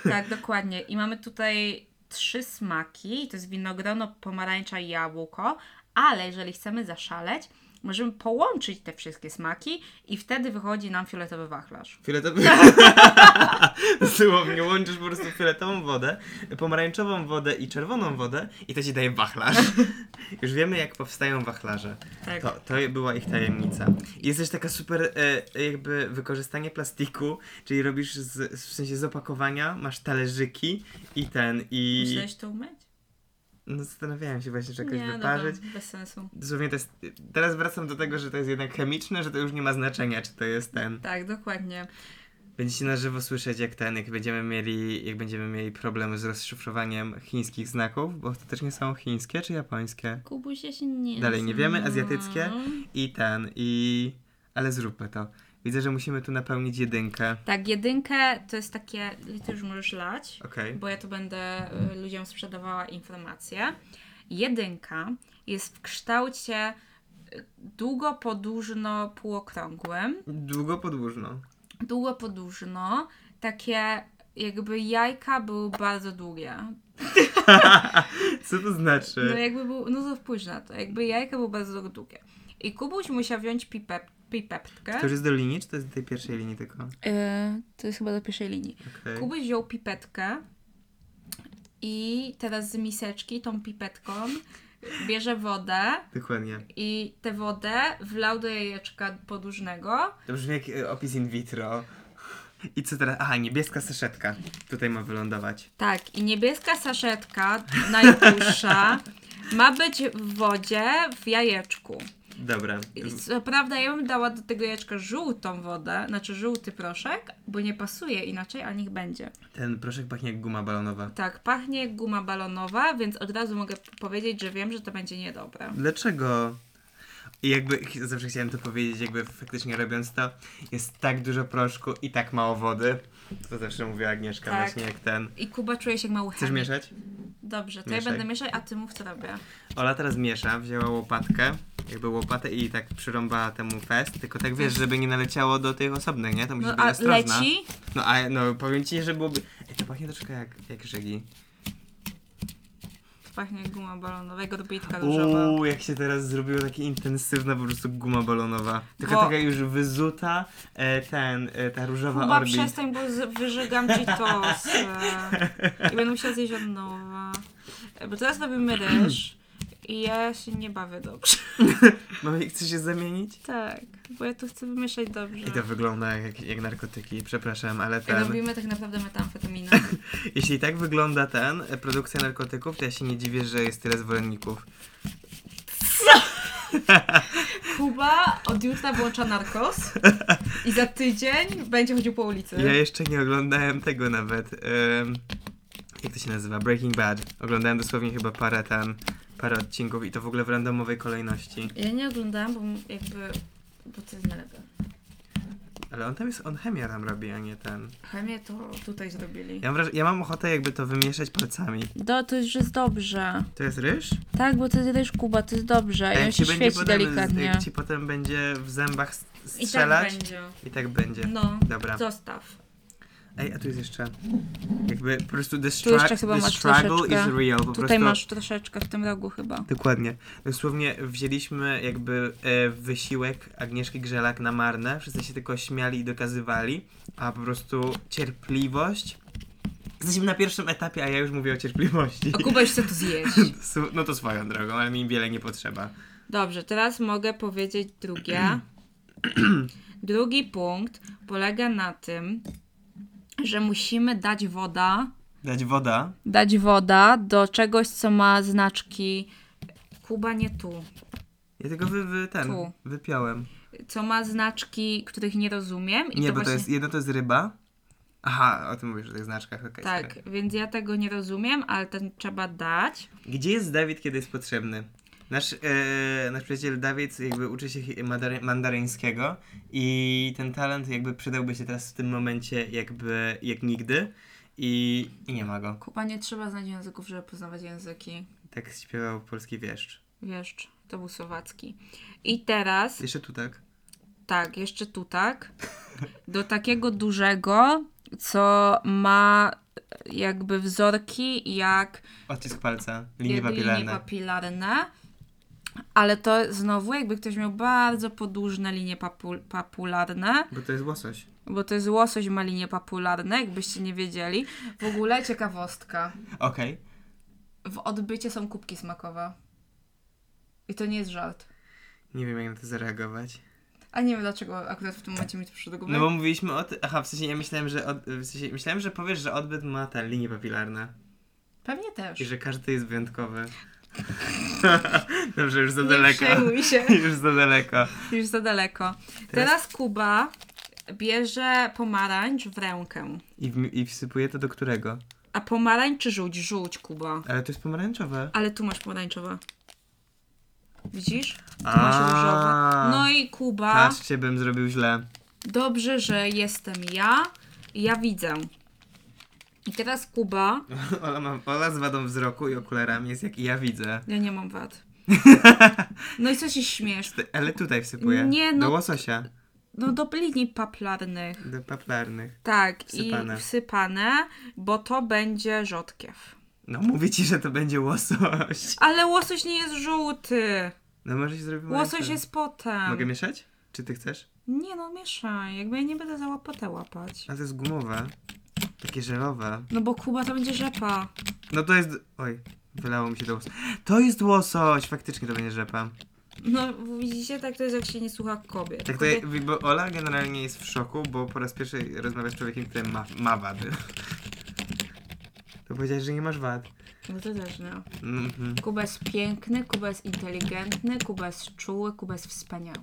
S1: Tak, dokładnie. I mamy tutaj trzy smaki. To jest winogrono, pomarańcza i jabłko. Ale jeżeli chcemy zaszaleć, możemy połączyć te wszystkie smaki i wtedy wychodzi nam fioletowy wachlarz.
S2: Fioletowy... Dosłownie łączysz po prostu fioletową wodę, pomarańczową wodę i czerwoną wodę i to ci daje wachlarz. Już wiemy, jak powstają wachlarze.
S1: Tak.
S2: To, to była ich tajemnica. I jest też taka super e, jakby wykorzystanie plastiku, czyli robisz z, w sensie z opakowania, masz talerzyki i ten i...
S1: Myślałeś to umyć?
S2: No zastanawiałem się właśnie, czy jakoś
S1: Nie,
S2: wyparzyć.
S1: dobra, bez sensu.
S2: Dosłownie to jest, teraz wracam do tego, że to jest jednak chemiczne, że to już nie ma znaczenia, czy to jest ten.
S1: Tak, dokładnie.
S2: Będziecie na żywo słyszeć, jak ten, jak będziemy mieli, jak będziemy mieli problemy z rozszyfrowaniem chińskich znaków, bo to też nie są chińskie czy japońskie.
S1: Kubusia się nie
S2: Dalej nie wiemy,
S1: znam.
S2: azjatyckie? I ten, i... Ale zróbmy to. Widzę, że musimy tu napełnić jedynkę.
S1: Tak, jedynkę to jest takie, ty już możesz lać,
S2: Okej.
S1: bo ja tu będę y, ludziom sprzedawała informacje. Jedynka jest w kształcie y, długo-podłużno-półokrągłym.
S2: Długo podłużno.
S1: Długo-podłużno, takie jakby jajka były bardzo długie.
S2: Co to znaczy?
S1: No jakby był, no to spójrz na to, jakby jajka były bardzo długie. I Kubuś musiał wziąć pipep, pipetkę.
S2: To już jest do linii, czy to jest do tej pierwszej linii tylko?
S1: Y, to jest chyba do pierwszej linii.
S2: Okej.
S1: Kubuś wziął pipetkę i teraz z miseczki tą pipetką bierze wodę
S2: Dokładnie.
S1: i tę wodę wlał do jajeczka podłużnego.
S2: To brzmi jak y, opis in vitro. I co teraz? Aha, niebieska saszetka. Tutaj ma wylądować.
S1: Tak, i niebieska saszetka, najdłuższa, ma być w wodzie w jajeczku.
S2: Dobra.
S1: I Co prawda ja bym dała do tego jajeczka żółtą wodę, znaczy żółty proszek, bo nie pasuje inaczej, a niech będzie.
S2: Ten proszek pachnie jak guma balonowa.
S1: Tak, pachnie jak guma balonowa, więc od razu mogę powiedzieć, że wiem, że to będzie niedobre.
S2: Dlaczego? I jakby ch- zawsze chciałem to powiedzieć, jakby faktycznie robiąc to, jest tak dużo proszku i tak mało wody. To zawsze mówiła Agnieszka,
S1: Tak.
S2: właśnie jak ten.
S1: I Kuba czuje się jak mały
S2: Chcesz
S1: chemik.
S2: mieszać?
S1: Dobrze, to
S2: Mieszaj.
S1: ja będę mieszać, a ty mów co robię.
S2: Ola teraz miesza, wzięła łopatkę, jakby łopatę i tak przyrąbała temu fest, tylko tak wiesz, żeby nie naleciało do tych osobnych, nie? To musi
S1: No
S2: być
S1: a
S2: ostrożna.
S1: leci?
S2: No a no powiem ci, że byłoby. Ej, to pachnie troszkę jak, jak żegi.
S1: Pachnie jak guma balonowego, dobitka różowa.
S2: Uuu, jak się teraz zrobiło takie intensywna po prostu guma balonowa. Tylko
S1: Bo-
S2: taka już wyzuta, e, ten, e, ta różowa
S1: Kuba,
S2: orbit.
S1: przestań, bo z- wyżygam ci tosy. I będę musiała zjeść od nowa. E, Bo teraz robimy ryż i ja się nie bawię dobrze.
S2: Mamy, chcesz No się zamienić?
S1: Tak, bo ja tu chcę wymieszać dobrze.
S2: I to wygląda jak, jak narkotyki, przepraszam, ale ten...
S1: Robimy tak naprawdę metamfetaminę.
S2: Jeśli tak wygląda ten, e, produkcja narkotyków, to ja się nie dziwię, że jest tyle zwolenników.
S1: Kuba od jutra włącza narkos i za tydzień będzie chodził po ulicy.
S2: Ja jeszcze nie oglądałem tego nawet. em, jak to się nazywa? Breaking Bad. Oglądałem dosłownie chyba parę tam, parę odcinków i to w ogóle w randomowej kolejności.
S1: Ja nie oglądałam, bo m- jakby... Bo to jest najlepsze.
S2: Ale on tam jest, on chemia tam robi, a nie ten.
S1: Chemię to tutaj zrobili.
S2: Ja mam, wraż- ja mam ochotę jakby to wymieszać palcami.
S1: Do, to już jest dobrze.
S2: To jest ryż?
S1: Tak, bo to jest ryż Kuba, to jest dobrze. I on się świeci
S2: potem,
S1: delikatnie.
S2: jak ci potem będzie w zębach s- strzelać.
S1: I tak będzie.
S2: I tak będzie.
S1: No,
S2: Dobra.
S1: zostaw.
S2: Ej, a tu jest jeszcze. Jakby po prostu the,
S1: Tu jeszcze
S2: stra-
S1: chyba
S2: the
S1: masz
S2: struggle
S1: troszeczkę.
S2: is real. Po
S1: Tutaj
S2: prostu
S1: masz troszeczkę w tym rogu chyba.
S2: Dokładnie. Dosłownie wzięliśmy jakby e, wysiłek Agnieszki Grzelak na marne. Wszyscy się tylko śmiali i dokazywali, a po prostu cierpliwość. Jesteśmy na pierwszym etapie, a ja już mówię o cierpliwości.
S1: A Kuba już chce to zjeść.
S2: Su- No to swoją drogą, ale mi wiele nie potrzeba.
S1: Dobrze, teraz mogę powiedzieć drugie. Drugi punkt polega na tym, że musimy dać woda,
S2: Dać woda.
S1: dać woda do czegoś, co ma znaczki Kuba nie tu,
S2: Ja tego wy, wy, ten,
S1: Tu.
S2: wypiąłem.
S1: co ma znaczki, których nie rozumiem.
S2: Nie, bo to jest, jedno to jest ryba. Aha, o tym mówisz o tych znaczkach, okej.
S1: Tak,
S2: sorry.
S1: więc ja tego nie rozumiem, ale ten trzeba dać.
S2: Gdzie jest Dawid, kiedy jest potrzebny? Nasz, e, nasz przyjaciel Dawid jakby uczy się hi- madary- mandaryńskiego i ten talent jakby przydałby się teraz w tym momencie jakby jak nigdy i, i nie ma go.
S1: Kuba nie trzeba znać języków, żeby poznawać języki.
S2: Tak śpiewał polski wieszcz.
S1: Wiesz, to był słowacki. I teraz
S2: Jeszcze tu tak.
S1: Tak, jeszcze tu tak. Do takiego dużego, co ma jakby wzorki jak
S2: Odcisk palca, linie
S1: jak linie
S2: papilarne.
S1: papilarne. Ale to znowu jakby ktoś miał bardzo podłużne linie papu- papularne,
S2: Bo to jest łosoś.
S1: bo to jest łosoś ma linie papularne, jakbyście nie wiedzieli. W ogóle ciekawostka.
S2: Okej.
S1: W odbycie są kubki smakowe. I to nie jest żart.
S2: Nie wiem jak na to zareagować.
S1: A nie wiem dlaczego akurat w tym momencie mi to przyszło do głowy.
S2: No bo mówiliśmy o tym, aha w sensie ja myślałem, że od, w sensie, myślałem, że powiesz, że odbyt ma te linie papilarne
S1: Pewnie też.
S2: i że każdy jest wyjątkowy. Dobrze, już za
S1: Nie
S2: daleko.
S1: przejmuj się.
S2: Już za daleko.
S1: Już za daleko.
S2: Teraz-
S1: Teraz Kuba bierze pomarańcz w rękę.
S2: I, w, I wsypuję to do którego?
S1: A pomarańcz czy żółć? Żółć, Kuba.
S2: Ale to jest pomarańczowe.
S1: Ale tu masz pomarańczowe. Widzisz? Tu masz różowe. No i Kuba,
S2: Patrzcie, bym zrobił źle.
S1: dobrze, że jestem ja. Ja widzę. I teraz Kuba,
S2: Ola, ma, Ola z wadą wzroku i okularami jest jak ja widzę.
S1: ja nie mam wad. No i co się śmiesz?
S2: Ty- Ale tutaj wsypuję.
S1: Nie, no-
S2: Do łososia.
S1: No do linii paplarnych.
S2: Do paplarnych.
S1: Tak,
S2: Wsypane.
S1: i wsypane, bo to będzie rzodkiew.
S2: No mówię ci, że to będzie łosoś.
S1: Ale łosoś nie jest żółty.
S2: No może się zrobimy.
S1: Łosoś
S2: jeszcze.
S1: jest potem.
S2: Mogę mieszać? Czy ty chcesz?
S1: Nie no, mieszaj. Jakby ja nie będę za łapotę łapać.
S2: A to jest gumowe. Takie żelowe.
S1: No bo Kuba to będzie rzepa.
S2: No to jest... Oj, wylało mi się to łosoś. To jest łosoś! Faktycznie to będzie rzepa.
S1: No widzicie, tak to jest jak się nie słucha kobiet.
S2: Tak to,
S1: Kobiet-
S2: ja- bo Ola generalnie jest w szoku, bo po raz pierwszy rozmawia z człowiekiem, który ma, ma wady. To powiedziałeś, że nie masz wad.
S1: No to też nie.
S2: Mhm.
S1: Kuba jest piękny, Kuba jest inteligentny, Kuba jest czuły, Kuba jest wspaniały.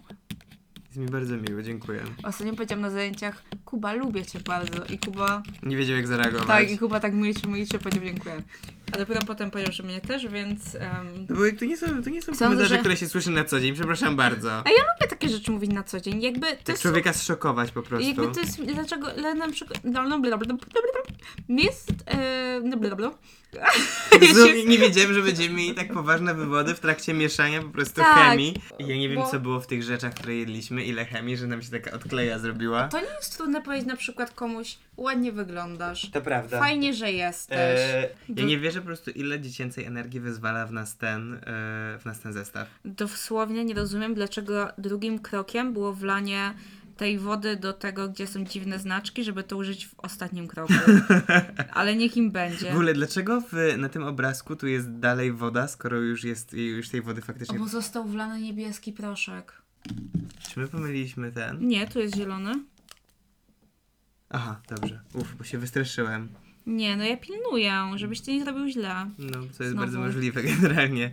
S2: Jest mi bardzo miło, dziękuję.
S1: Ostatnio powiedziałam na zajęciach, Kuba lubię cię bardzo i Kuba...
S2: Nie wiedział jak zareagować.
S1: Tak, i Kuba tak myliczy, myliczy, powiedział dziękuję. A dopiero potem powiedział, że mnie też, więc... em,
S2: No bo to nie są, to nie są
S1: Sądzę,
S2: komentarze,
S1: że-
S2: które się słyszy na co dzień, przepraszam bardzo.
S1: A ja lubię takie rzeczy mówić na co dzień, jakby to
S2: Tak
S1: jest...
S2: człowieka zszokować po prostu.
S1: Jakby to jest, dlaczego, ale na przykład, no, no, blablabla, blablabla, jest, e, no, blablabla.
S2: Jezu, nie- nie wiedziałem, że będziemy mieli tak poważne wywody w trakcie mieszania po prostu
S1: Tak.
S2: chemii. I ja nie wiem,
S1: Bo-
S2: co było w tych rzeczach, które jedliśmy, ile chemii, że nam się taka odkleja zrobiła.
S1: To nie jest trudne powiedzieć na przykład komuś, ładnie wyglądasz,
S2: To prawda.
S1: fajnie, że jesteś.
S2: Eee, ja
S1: Do-
S2: nie wierzę po prostu, ile dziecięcej energii wyzwala w nas ten, eee, w nas ten zestaw.
S1: Dosłownie nie rozumiem, dlaczego drugim krokiem było wlanie tej wody do tego, gdzie są dziwne znaczki, żeby to użyć w ostatnim kroku. Ale niech im
S2: W
S1: będzie.
S2: ogóle, dlaczego w, na tym obrazku tu jest dalej woda, skoro już jest już tej wody faktycznie...
S1: Bo został wlany niebieski proszek.
S2: Czy my pomyliliśmy ten?
S1: Nie, tu jest zielony.
S2: Aha, dobrze. Uf, bo się wystraszyłem.
S1: Nie, no ja pilnuję, żebyś ty nie zrobił źle.
S2: No, co jest
S1: Znowu.
S2: bardzo możliwe generalnie.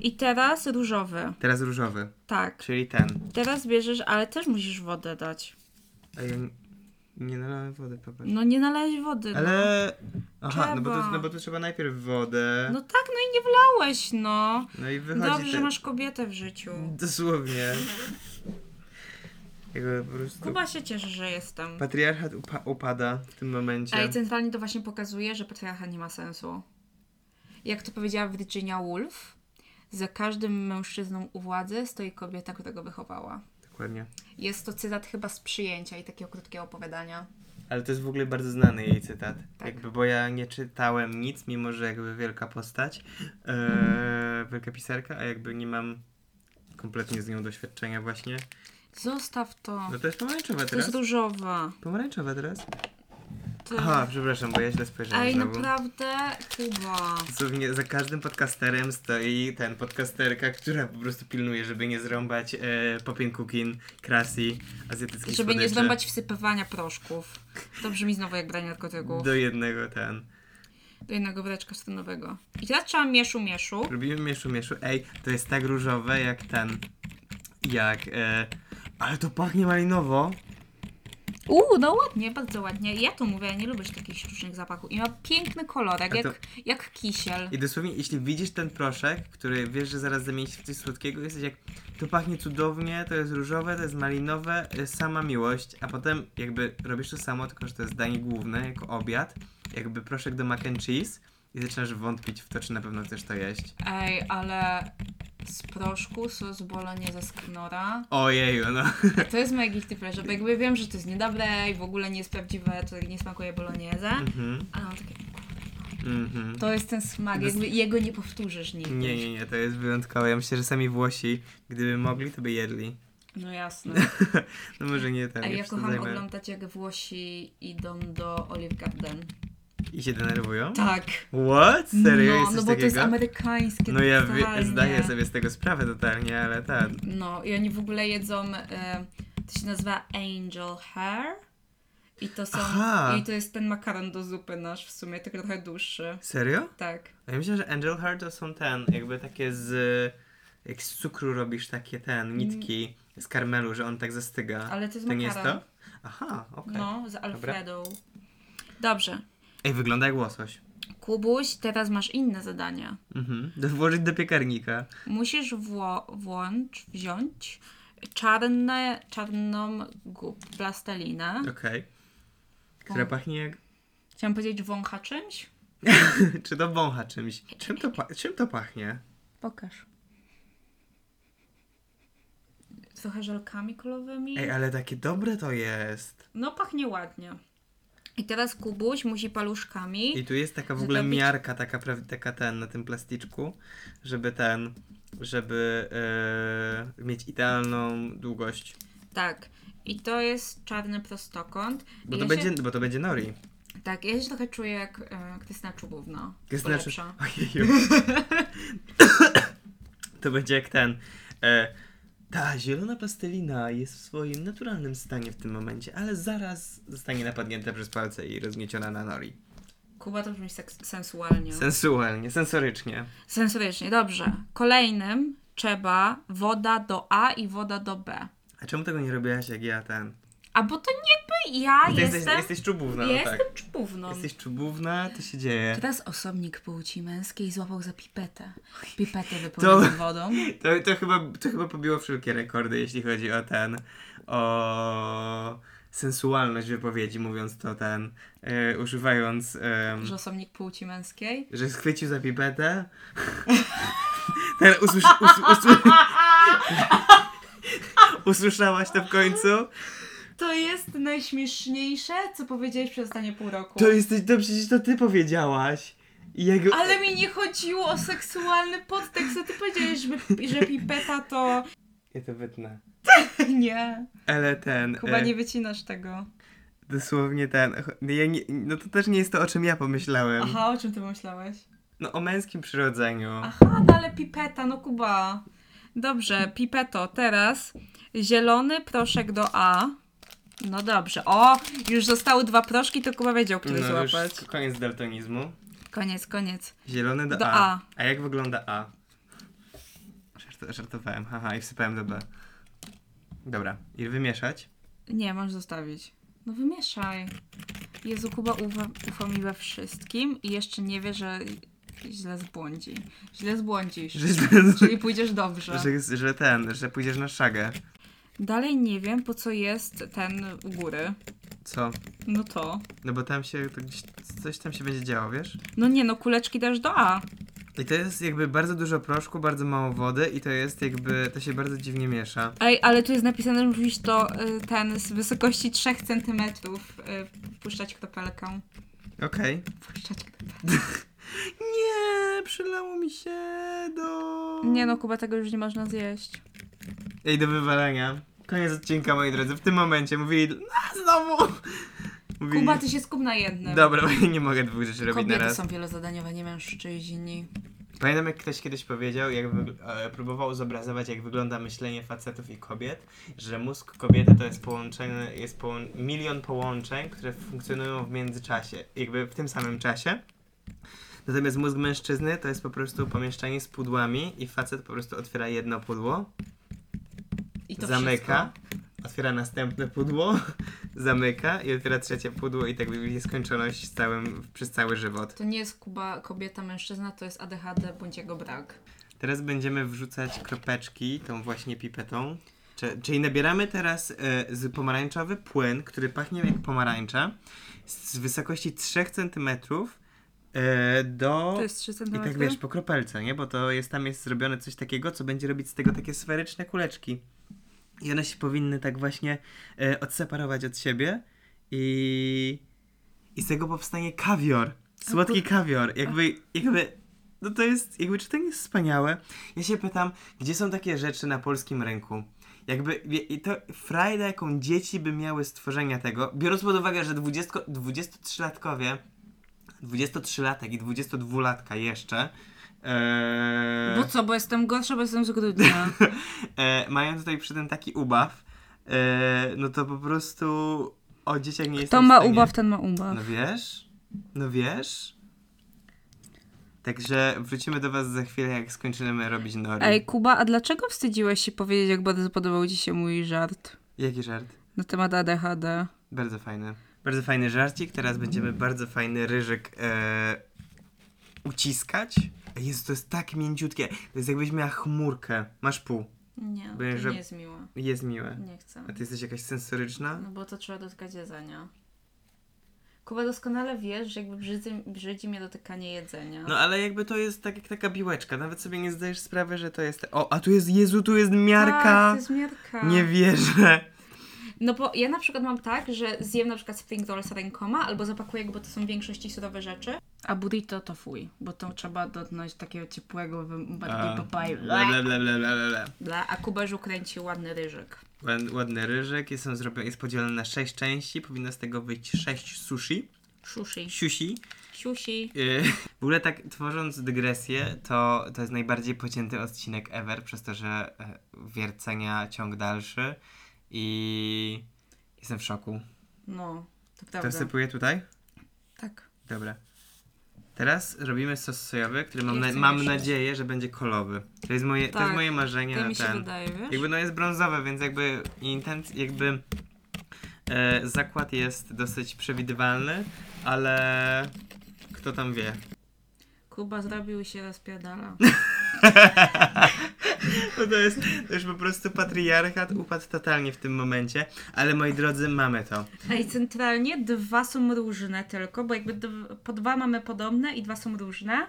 S1: I teraz różowy.
S2: Teraz różowy,
S1: Tak.
S2: czyli ten.
S1: Teraz bierzesz, ale też musisz wodę dać.
S2: A ja nie- nie nalałem wody, popatrz.
S1: No nie nalałeś wody. No.
S2: Ale... Aha, no bo, tu,
S1: Trzeba.
S2: no bo tu trzeba najpierw wodę,
S1: no tak, no i nie wlałeś, no.
S2: no i wychodzi
S1: Dobrze, że
S2: ten-
S1: masz kobietę w życiu.
S2: Dosłownie. Jakby po prostu...
S1: Kuba się cieszy, że jestem.
S2: Patriarchat upa- upada w tym momencie.
S1: Ej, centralnie to właśnie pokazuje, że patriarcha nie ma sensu. Jak to powiedziała Virginia Woolf, za każdym mężczyzną u władzy stoi kobieta, która go wychowała.
S2: Dokładnie.
S1: Jest to cytat chyba z przyjęcia i takiego krótkiego opowiadania.
S2: Ale to jest w ogóle bardzo znany jej cytat.
S1: Tak.
S2: Jakby, bo ja nie czytałem nic, mimo że jakby wielka postać, eee, wielka pisarka, a jakby nie mam kompletnie z nią doświadczenia właśnie.
S1: Zostaw to.
S2: No to jest pomarańczowe
S1: To jest
S2: teraz.
S1: różowa.
S2: Pomarańczowe teraz.
S1: To...
S2: Aha, przepraszam, bo ja źle spojrzałem
S1: Mhm. Ej,
S2: znowu.
S1: naprawdę, Kuba.
S2: Dosłownie za każdym podcasterem stoi ten podcasterka, która po prostu pilnuje, żeby nie zrąbać e, popien kukin, krasi, azjatyckich
S1: Żeby nie
S2: słodyczy.
S1: zrąbać wsypywania proszków. To brzmi znowu jak branie narkotyków.
S2: Do jednego ten.
S1: Do jednego woreczka stronowego. I teraz trzeba mieszu, mieszu.
S2: Robimy mieszu, mieszu. Ej, to jest tak różowe jak ten. Jak. E, ale to pachnie malinowo.
S1: Uuu, no ładnie, bardzo ładnie. Ja tu mówię, ja nie lubię takich sztucznych zapachów. I ma piękny kolorek,
S2: A to-
S1: jak, jak kisiel.
S2: I dosłownie, jeśli widzisz ten proszek, który wiesz, że zaraz zamieni się w coś słodkiego, jesteś jak. To pachnie cudownie, to jest różowe, to jest malinowe, e, sama miłość. A potem, jakby robisz to samo, tylko że to jest danie główne, jako obiad. Jakby proszek do mac and cheese. I zaczynasz wątpić w to, czy na pewno chcesz to jeść.
S1: Ej, ale z proszku sos bolonie ze sknora.
S2: Ojeju, no.
S1: To jest moje guilty pleasure, bo jakby wiem, że to jest niedobre i w ogóle nie jest prawdziwe, to nie smakuje bolonieze.
S2: Mhm,
S1: Ale mam takie,
S2: mhm.
S1: to jest ten smak, jakby jego nie powtórzysz nigdy.
S2: Nie, nie, nie, to jest wyjątkowe. Ja myślę, że sami Włosi, gdyby mogli, to by jedli.
S1: No jasne.
S2: No może nie ten,
S1: Ej,
S2: nie
S1: ja kocham
S2: przesadzajmy.
S1: oglądać, jak Włosi idą do Olive Garden.
S2: I się denerwują?
S1: Tak.
S2: What? Serio?
S1: No, no
S2: jest coś
S1: bo to
S2: takiego?
S1: jest amerykańskie.
S2: No ja
S1: totalnie.
S2: wie, zdaję sobie z tego sprawę totalnie, ale tak.
S1: No i oni w ogóle jedzą, e, to się nazywa angel hair. I to są,
S2: Aha.
S1: i to jest ten makaron do zupy nasz w sumie, tylko trochę dłuższy.
S2: Serio?
S1: Tak.
S2: A Ja myślę, że Angel Heart to są ten, jakby takie z... Jak z cukru robisz takie ten, nitki z karmelu, że on tak zastyga.
S1: Mm. Ale to jest
S2: to nie
S1: makaron.
S2: jest to? Aha, okej.
S1: No, z Alfredą. Dobrze.
S2: Ej, wygląda jak łosoś.
S1: Kubuś, teraz masz inne zadania.
S2: Mhm. Do- Włożyć do piekarnika.
S1: Musisz wło- włącz, wziąć czarne, czarną gub, plastelinę.
S2: Okej. Która pachnie jak...
S1: Chciałam powiedzieć wącha czymś?
S2: Czy to wącha czymś? Czym to, pa- czym to pachnie?
S1: Pokaż. Trochę żelkami kolowymi.
S2: Ej, ale takie dobre to jest.
S1: No pachnie ładnie. I teraz Kubuś musi paluszkami.
S2: I tu jest taka w ogóle
S1: Zrobić-
S2: miarka, taka, praw- taka ten na tym plasticzku, żeby ten, żeby e, mieć idealną długość.
S1: Tak. I to jest czarny prostokąt.
S2: Bo
S1: I
S2: to,
S1: ja się-
S2: będzie, bo to będzie nori.
S1: Tak, ja się trochę czuję jak e, Krystyna Czubówna.
S2: To Znaczy,
S1: Lepsza.
S2: ojeju. to będzie jak ten. E, ta zielona plastelina jest w swoim naturalnym stanie w tym momencie, ale zaraz zostanie napadnięta przez palce i rozgnieciona na nori.
S1: Kuba to brzmi seks- sensualnie.
S2: Sensualnie, sensorycznie.
S1: Sensorycznie, dobrze. Kolejnym trzeba woda do A i woda do B.
S2: A czemu tego nie robiłaś jak ja ten?
S1: A bo to niby ja
S2: Ty
S1: jestem.
S2: jesteś, jesteś czubówna, no
S1: jestem
S2: tak.
S1: czubówną.
S2: Jesteś czubówna, to się dzieje.
S1: Teraz osobnik płci męskiej złapał za pipetę. Pipetę
S2: wypełnioną To-
S1: wodą.
S2: To, to, chyba, to chyba pobiło wszelkie rekordy, jeśli chodzi o ten, o sensualność wypowiedzi, mówiąc to ten, e, używając, em,
S1: Że osobnik płci męskiej.
S2: że schwycił za pipetę. ten usłysz, us, usły- usłyszałaś to w końcu?
S1: To jest najśmieszniejsze, co powiedziałeś przez ostatnie pół roku.
S2: To jesteś, to przecież to ty powiedziałaś. I jak,
S1: Ale mi nie chodziło o seksualny podtekst, a ty powiedziałeś, żeby, że pipeta to...
S2: Ja to wytnę.
S1: Nie,
S2: Ale ten...
S1: Kuba
S2: e,
S1: nie wycinasz tego.
S2: Dosłownie ten. Ja nie, no to też nie jest to, o czym ja pomyślałem.
S1: Aha, o czym ty myślałeś?
S2: No o męskim przyrodzeniu.
S1: Aha, no ale pipeta, no Kuba. Dobrze, pipeto, teraz zielony proszek do A. No dobrze. O, już zostały dwa proszki, to Kuba wiedział, który
S2: no już
S1: złapać.
S2: koniec daltonizmu.
S1: Koniec, koniec.
S2: Zielony do,
S1: Do
S2: A.
S1: A.
S2: A jak wygląda A? Żart, żartowałem, haha, i wsypałem do B. Dobra, i wymieszać.
S1: Nie, masz zostawić. No wymieszaj. Jezu, Kuba ufa, ufa mi we wszystkim i jeszcze nie wie, że źle zbłądzi. Źle zbłądzisz.
S2: Że,
S1: Czyli pójdziesz dobrze.
S2: że, że ten, że pójdziesz na szagę.
S1: Dalej nie wiem, po co jest ten u góry.
S2: Co?
S1: No to.
S2: No bo tam się, to gdzieś, coś tam się będzie działo, wiesz?
S1: No nie, no kuleczki dasz do A.
S2: I to jest jakby bardzo dużo proszku, bardzo mało wody i to jest jakby, to się bardzo dziwnie miesza.
S1: Ej, ale tu jest napisane, że musisz to y, ten z wysokości 3 cm y, puszczać kropelkę.
S2: Okej.
S1: Puszczać kropelkę.
S2: Nie, przylało mi się do...
S1: Nie no, Kuba, tego już nie można zjeść.
S2: Ej, do wywalenia. Koniec odcinka, moi drodzy. W tym momencie mówili... No, znowu! Mówili...
S1: Kuba, ty się skup na jednym.
S2: Dobra, bo ja nie mogę dwóch rzeczy robić na
S1: Kobiety
S2: raz.
S1: są wielozadaniowe, nie mężczyźni.
S2: Pamiętam, jak ktoś kiedyś powiedział, jak wygl- e, próbował zobrazować, jak wygląda myślenie facetów i kobiet, że mózg kobiety to jest połączenie, jest połą- milion połączeń, które funkcjonują w międzyczasie, jakby w tym samym czasie. Natomiast mózg mężczyzny to jest po prostu pomieszczenie z pudłami i facet po prostu otwiera jedno pudło,
S1: I to
S2: zamyka,
S1: wszystko.
S2: otwiera następne pudło, zamyka i otwiera trzecie pudło i tak w nieskończoność z całym, przez cały żywot.
S1: To nie jest Kuba kobieta, mężczyzna, to jest ADHD bądź jego brak.
S2: Teraz będziemy wrzucać kropeczki tą właśnie pipetą. Cze- Czyli nabieramy teraz e, z pomarańczowy płyn, który pachnie jak pomarańcza, z z wysokości 3 cm e, do...
S1: To jest 3 cm?
S2: I tak wiesz, po kropelce, nie? Bo to jest, tam jest zrobione coś takiego, co będzie robić z tego takie sferyczne kuleczki. I one się powinny tak właśnie e, odseparować od siebie i, i z tego powstanie kawior. Słodki kawior. Jakby, jakby, no to jest, jakby czy to nie jest wspaniałe? Ja się pytam, gdzie są takie rzeczy na polskim rynku? Jakby, wie- i to frajda, jaką dzieci by miały z tworzenia tego, biorąc pod uwagę, że 20, 23-latkowie 23-latek i 22-latka jeszcze. e,
S1: Bo No co, bo jestem gorsza, bo jestem z grudnia.
S2: e, mają tutaj przy tym taki ubaw, e, no to po prostu o dzieciach nie jest.
S1: To ma ubaw, ten ma ubaw.
S2: No wiesz? No wiesz? Także wrócimy do Was za chwilę, jak skończymy robić nori.
S1: Ej, Kuba, a dlaczego wstydziłeś się powiedzieć, jak bardzo podobał ci się mój żart?
S2: Jaki żart?
S1: na temat ADHD.
S2: Bardzo fajny. Bardzo fajny żarcik. Teraz będziemy bardzo fajny ryżyk e, uciskać. Jezu, to jest tak mięciutkie. To jest jakbyś miała chmurkę. Masz pół.
S1: Nie,
S2: Bo jeżeli-
S1: jest miłe.
S2: Jest miłe.
S1: Nie chcę.
S2: A ty jesteś jakaś sensoryczna?
S1: No bo to trzeba dotykać jedzenia. Kuba, doskonale wiesz, że jakby brzydzi, brzydzi mnie dotykanie jedzenia.
S2: No ale jakby to jest tak jak taka biłeczka. Nawet sobie nie zdajesz sprawy, że to jest... O, a tu jest... Jezu, tu jest miarka!
S1: Tak, to jest miarka.
S2: Nie wierzę.
S1: No bo ja na przykład mam tak, że zjem na przykład spring rolls rękoma albo zapakuję go, bo to są w większości surowe rzeczy. A burrito to fuj, bo to trzeba dotknąć takiego ciepłego, bardziej papaju.
S2: Bla, bla, bla, bla, bla, bla.
S1: Bla, a Kuberzu kręci ładny ryżyk.
S2: Ład- Ładny ryżyk, jest on zrobiony, jest podzielony na sześć części, powinno z tego wyjść sześć sushi,
S1: Sushi.
S2: siusi.
S1: Siusi.
S2: Yy, W ogóle tak tworząc dygresję, to, to jest najbardziej pocięty odcinek ever, przez to, że e, wiercenia ciąg dalszy i jestem w szoku.
S1: No, to
S2: To
S1: prawda.
S2: sypuję tutaj?
S1: Tak.
S2: Dobra. Teraz robimy sos sojowy, który mam,
S1: Ja
S2: na,
S1: chcę
S2: mam
S1: mieszać.
S2: nadzieję, że będzie kolowy. To jest moje, to jest
S1: Tak.
S2: moje marzenie
S1: To
S2: na
S1: mi się
S2: ten.
S1: wydaje, wiesz?
S2: Jakby no jest brązowe, więc jakby intenc, jakby e, zakład jest dosyć przewidywalny, ale kto tam wie.
S1: Kuba zrobił się rozpierdala.
S2: No to jest to już po prostu patriarchat upadł totalnie w tym momencie, ale moi drodzy, mamy to.
S1: Ej, centralnie dwa są różne tylko, bo jakby dw- po dwa mamy podobne i dwa są różne.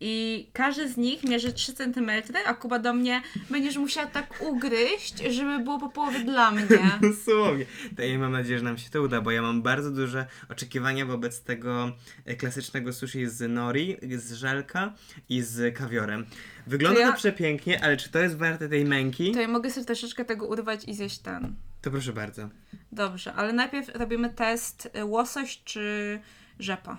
S1: I każdy z nich mierzy 3 cm, a Kuba do mnie będziesz musiała tak ugryźć, żeby było po połowie dla mnie.
S2: Dosłownie. To ja mam nadzieję, że nam się to uda, bo ja mam bardzo duże oczekiwania wobec tego e, klasycznego sushi z nori, z żelka i z kawiorem. Wygląda
S1: To
S2: to,
S1: ja-
S2: przepięknie, ale czy to jest warte tej męki?
S1: To ja mogę sobie troszeczkę tego urwać i zjeść ten.
S2: To proszę bardzo.
S1: Dobrze, ale najpierw robimy test y, łosoś czy rzepa.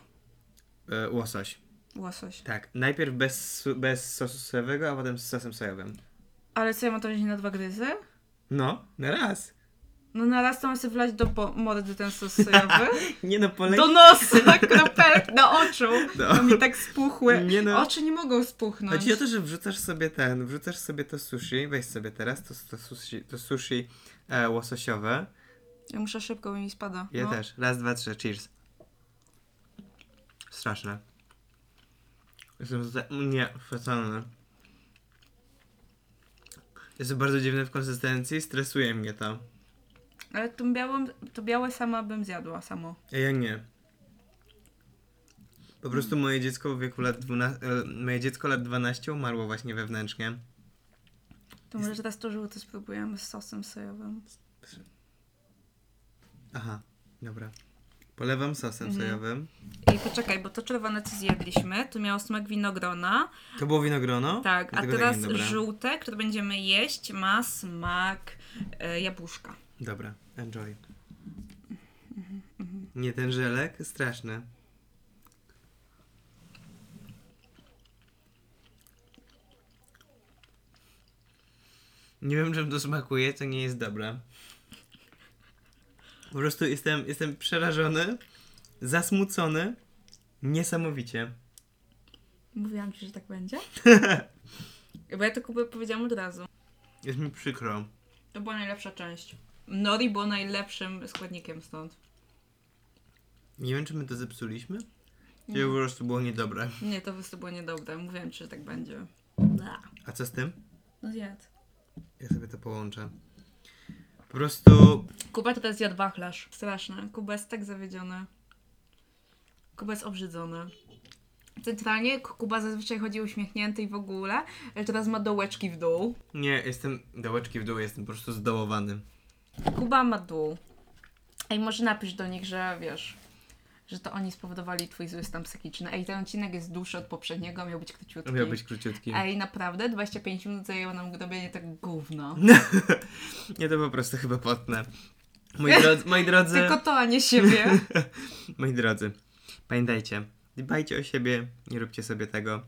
S2: E, łosoś.
S1: Łosoś.
S2: Tak, najpierw bez, su- bez sosu sojowego, a potem z sosem sojowym.
S1: Ale co, ja mam to wziąć na dwa gryzy?
S2: No, na raz.
S1: No na raz to mam sobie wlać do bo- mordy ten sos sojowy.
S2: Nie no, poleci...
S1: Do nosa, kropelki, do oczu.
S2: Do-
S1: No mi tak spuchły.
S2: Nie no.
S1: Oczy nie mogą spuchnąć.
S2: Chodzi o to, że wrzucasz sobie ten, wrzucasz sobie to sushi, weź sobie teraz to, to sushi, to sushi e, łososiowe.
S1: Ja muszę szybko, bo mi spada.
S2: Ja
S1: no.
S2: też. Raz, dwa, trzy, cheers. Straszne. Jestem za... Nie, fatalne. Jest to bardzo dziwne w konsystencji, stresuje mnie to.
S1: Ale tą białą, to białe sama bym zjadła, samo.
S2: A ja nie. Po prostu moje dziecko w wieku lat 12, e, moje dziecko lat 12 umarło właśnie wewnętrznie.
S1: To może teraz to żółte spróbujemy z sosem sojowym.
S2: Aha, dobra. Polewam sosem
S1: Mhm.
S2: sojowym.
S1: I poczekaj, bo to czerwone co zjedliśmy, to miało smak winogrona.
S2: To było winogrono?
S1: Tak, a
S2: Dlatego
S1: teraz
S2: nie, dobra.
S1: żółte, które będziemy jeść, ma smak e, jabłuszka.
S2: Dobra, enjoy. Nie, ten żelek straszny. Nie wiem, czym to smakuje, to nie jest dobre. Po prostu jestem, jestem przerażony, zasmucony, niesamowicie.
S1: Mówiłam ci, że tak będzie? bo ja to Kubę powiedziałam od razu.
S2: Jest mi przykro.
S1: To była najlepsza część. Nori było najlepszym składnikiem stąd.
S2: Nie wiem, czy my to zepsuliśmy, czy po prostu było niedobre.
S1: Nie, to po prostu było niedobre. Mówiłam ci, że tak będzie.
S2: A co z tym?
S1: No zjadł.
S2: Ja sobie to połączę. Po prostu
S1: Kuba to teraz zjadł wachlarz. Straszne. Kuba jest tak zawiedziony. Kuba jest obrzydzony. Centralnie K- Kuba zazwyczaj chodzi uśmiechnięty i w ogóle, ale teraz ma dołeczki w dół.
S2: Nie, jestem dołeczki w dół, jestem po prostu zdołowany.
S1: Kuba ma dół. Ej, może napisz do nich, że wiesz, że to oni spowodowali twój zły stan psychiczny. Ej, ten odcinek jest dłuższy od poprzedniego, miał być króciutki.
S2: Miał być króciutki.
S1: Ej, naprawdę? 25 minut zajęło nam robienie tak gówno.
S2: No, Ja to po prostu chyba potnę. Moi drodzy, moi drodzy,
S1: Tylko to, a nie siebie.
S2: moi drodzy, pamiętajcie, dbajcie o siebie, nie róbcie sobie tego.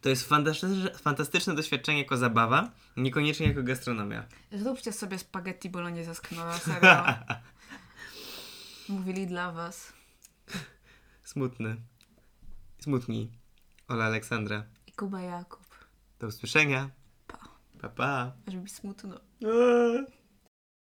S2: To jest fantastyczne, fantastyczne doświadczenie jako zabawa, niekoniecznie jako gastronomia.
S1: Zróbcie sobie spaghetti bolognese z knora, serio. Mówili dla was.
S2: Smutny. Smutni. Ola Aleksandra.
S1: I Kuba Jakub.
S2: Do usłyszenia.
S1: Pa.
S2: Pa, pa.
S1: Aż mi smutno.
S2: Eee.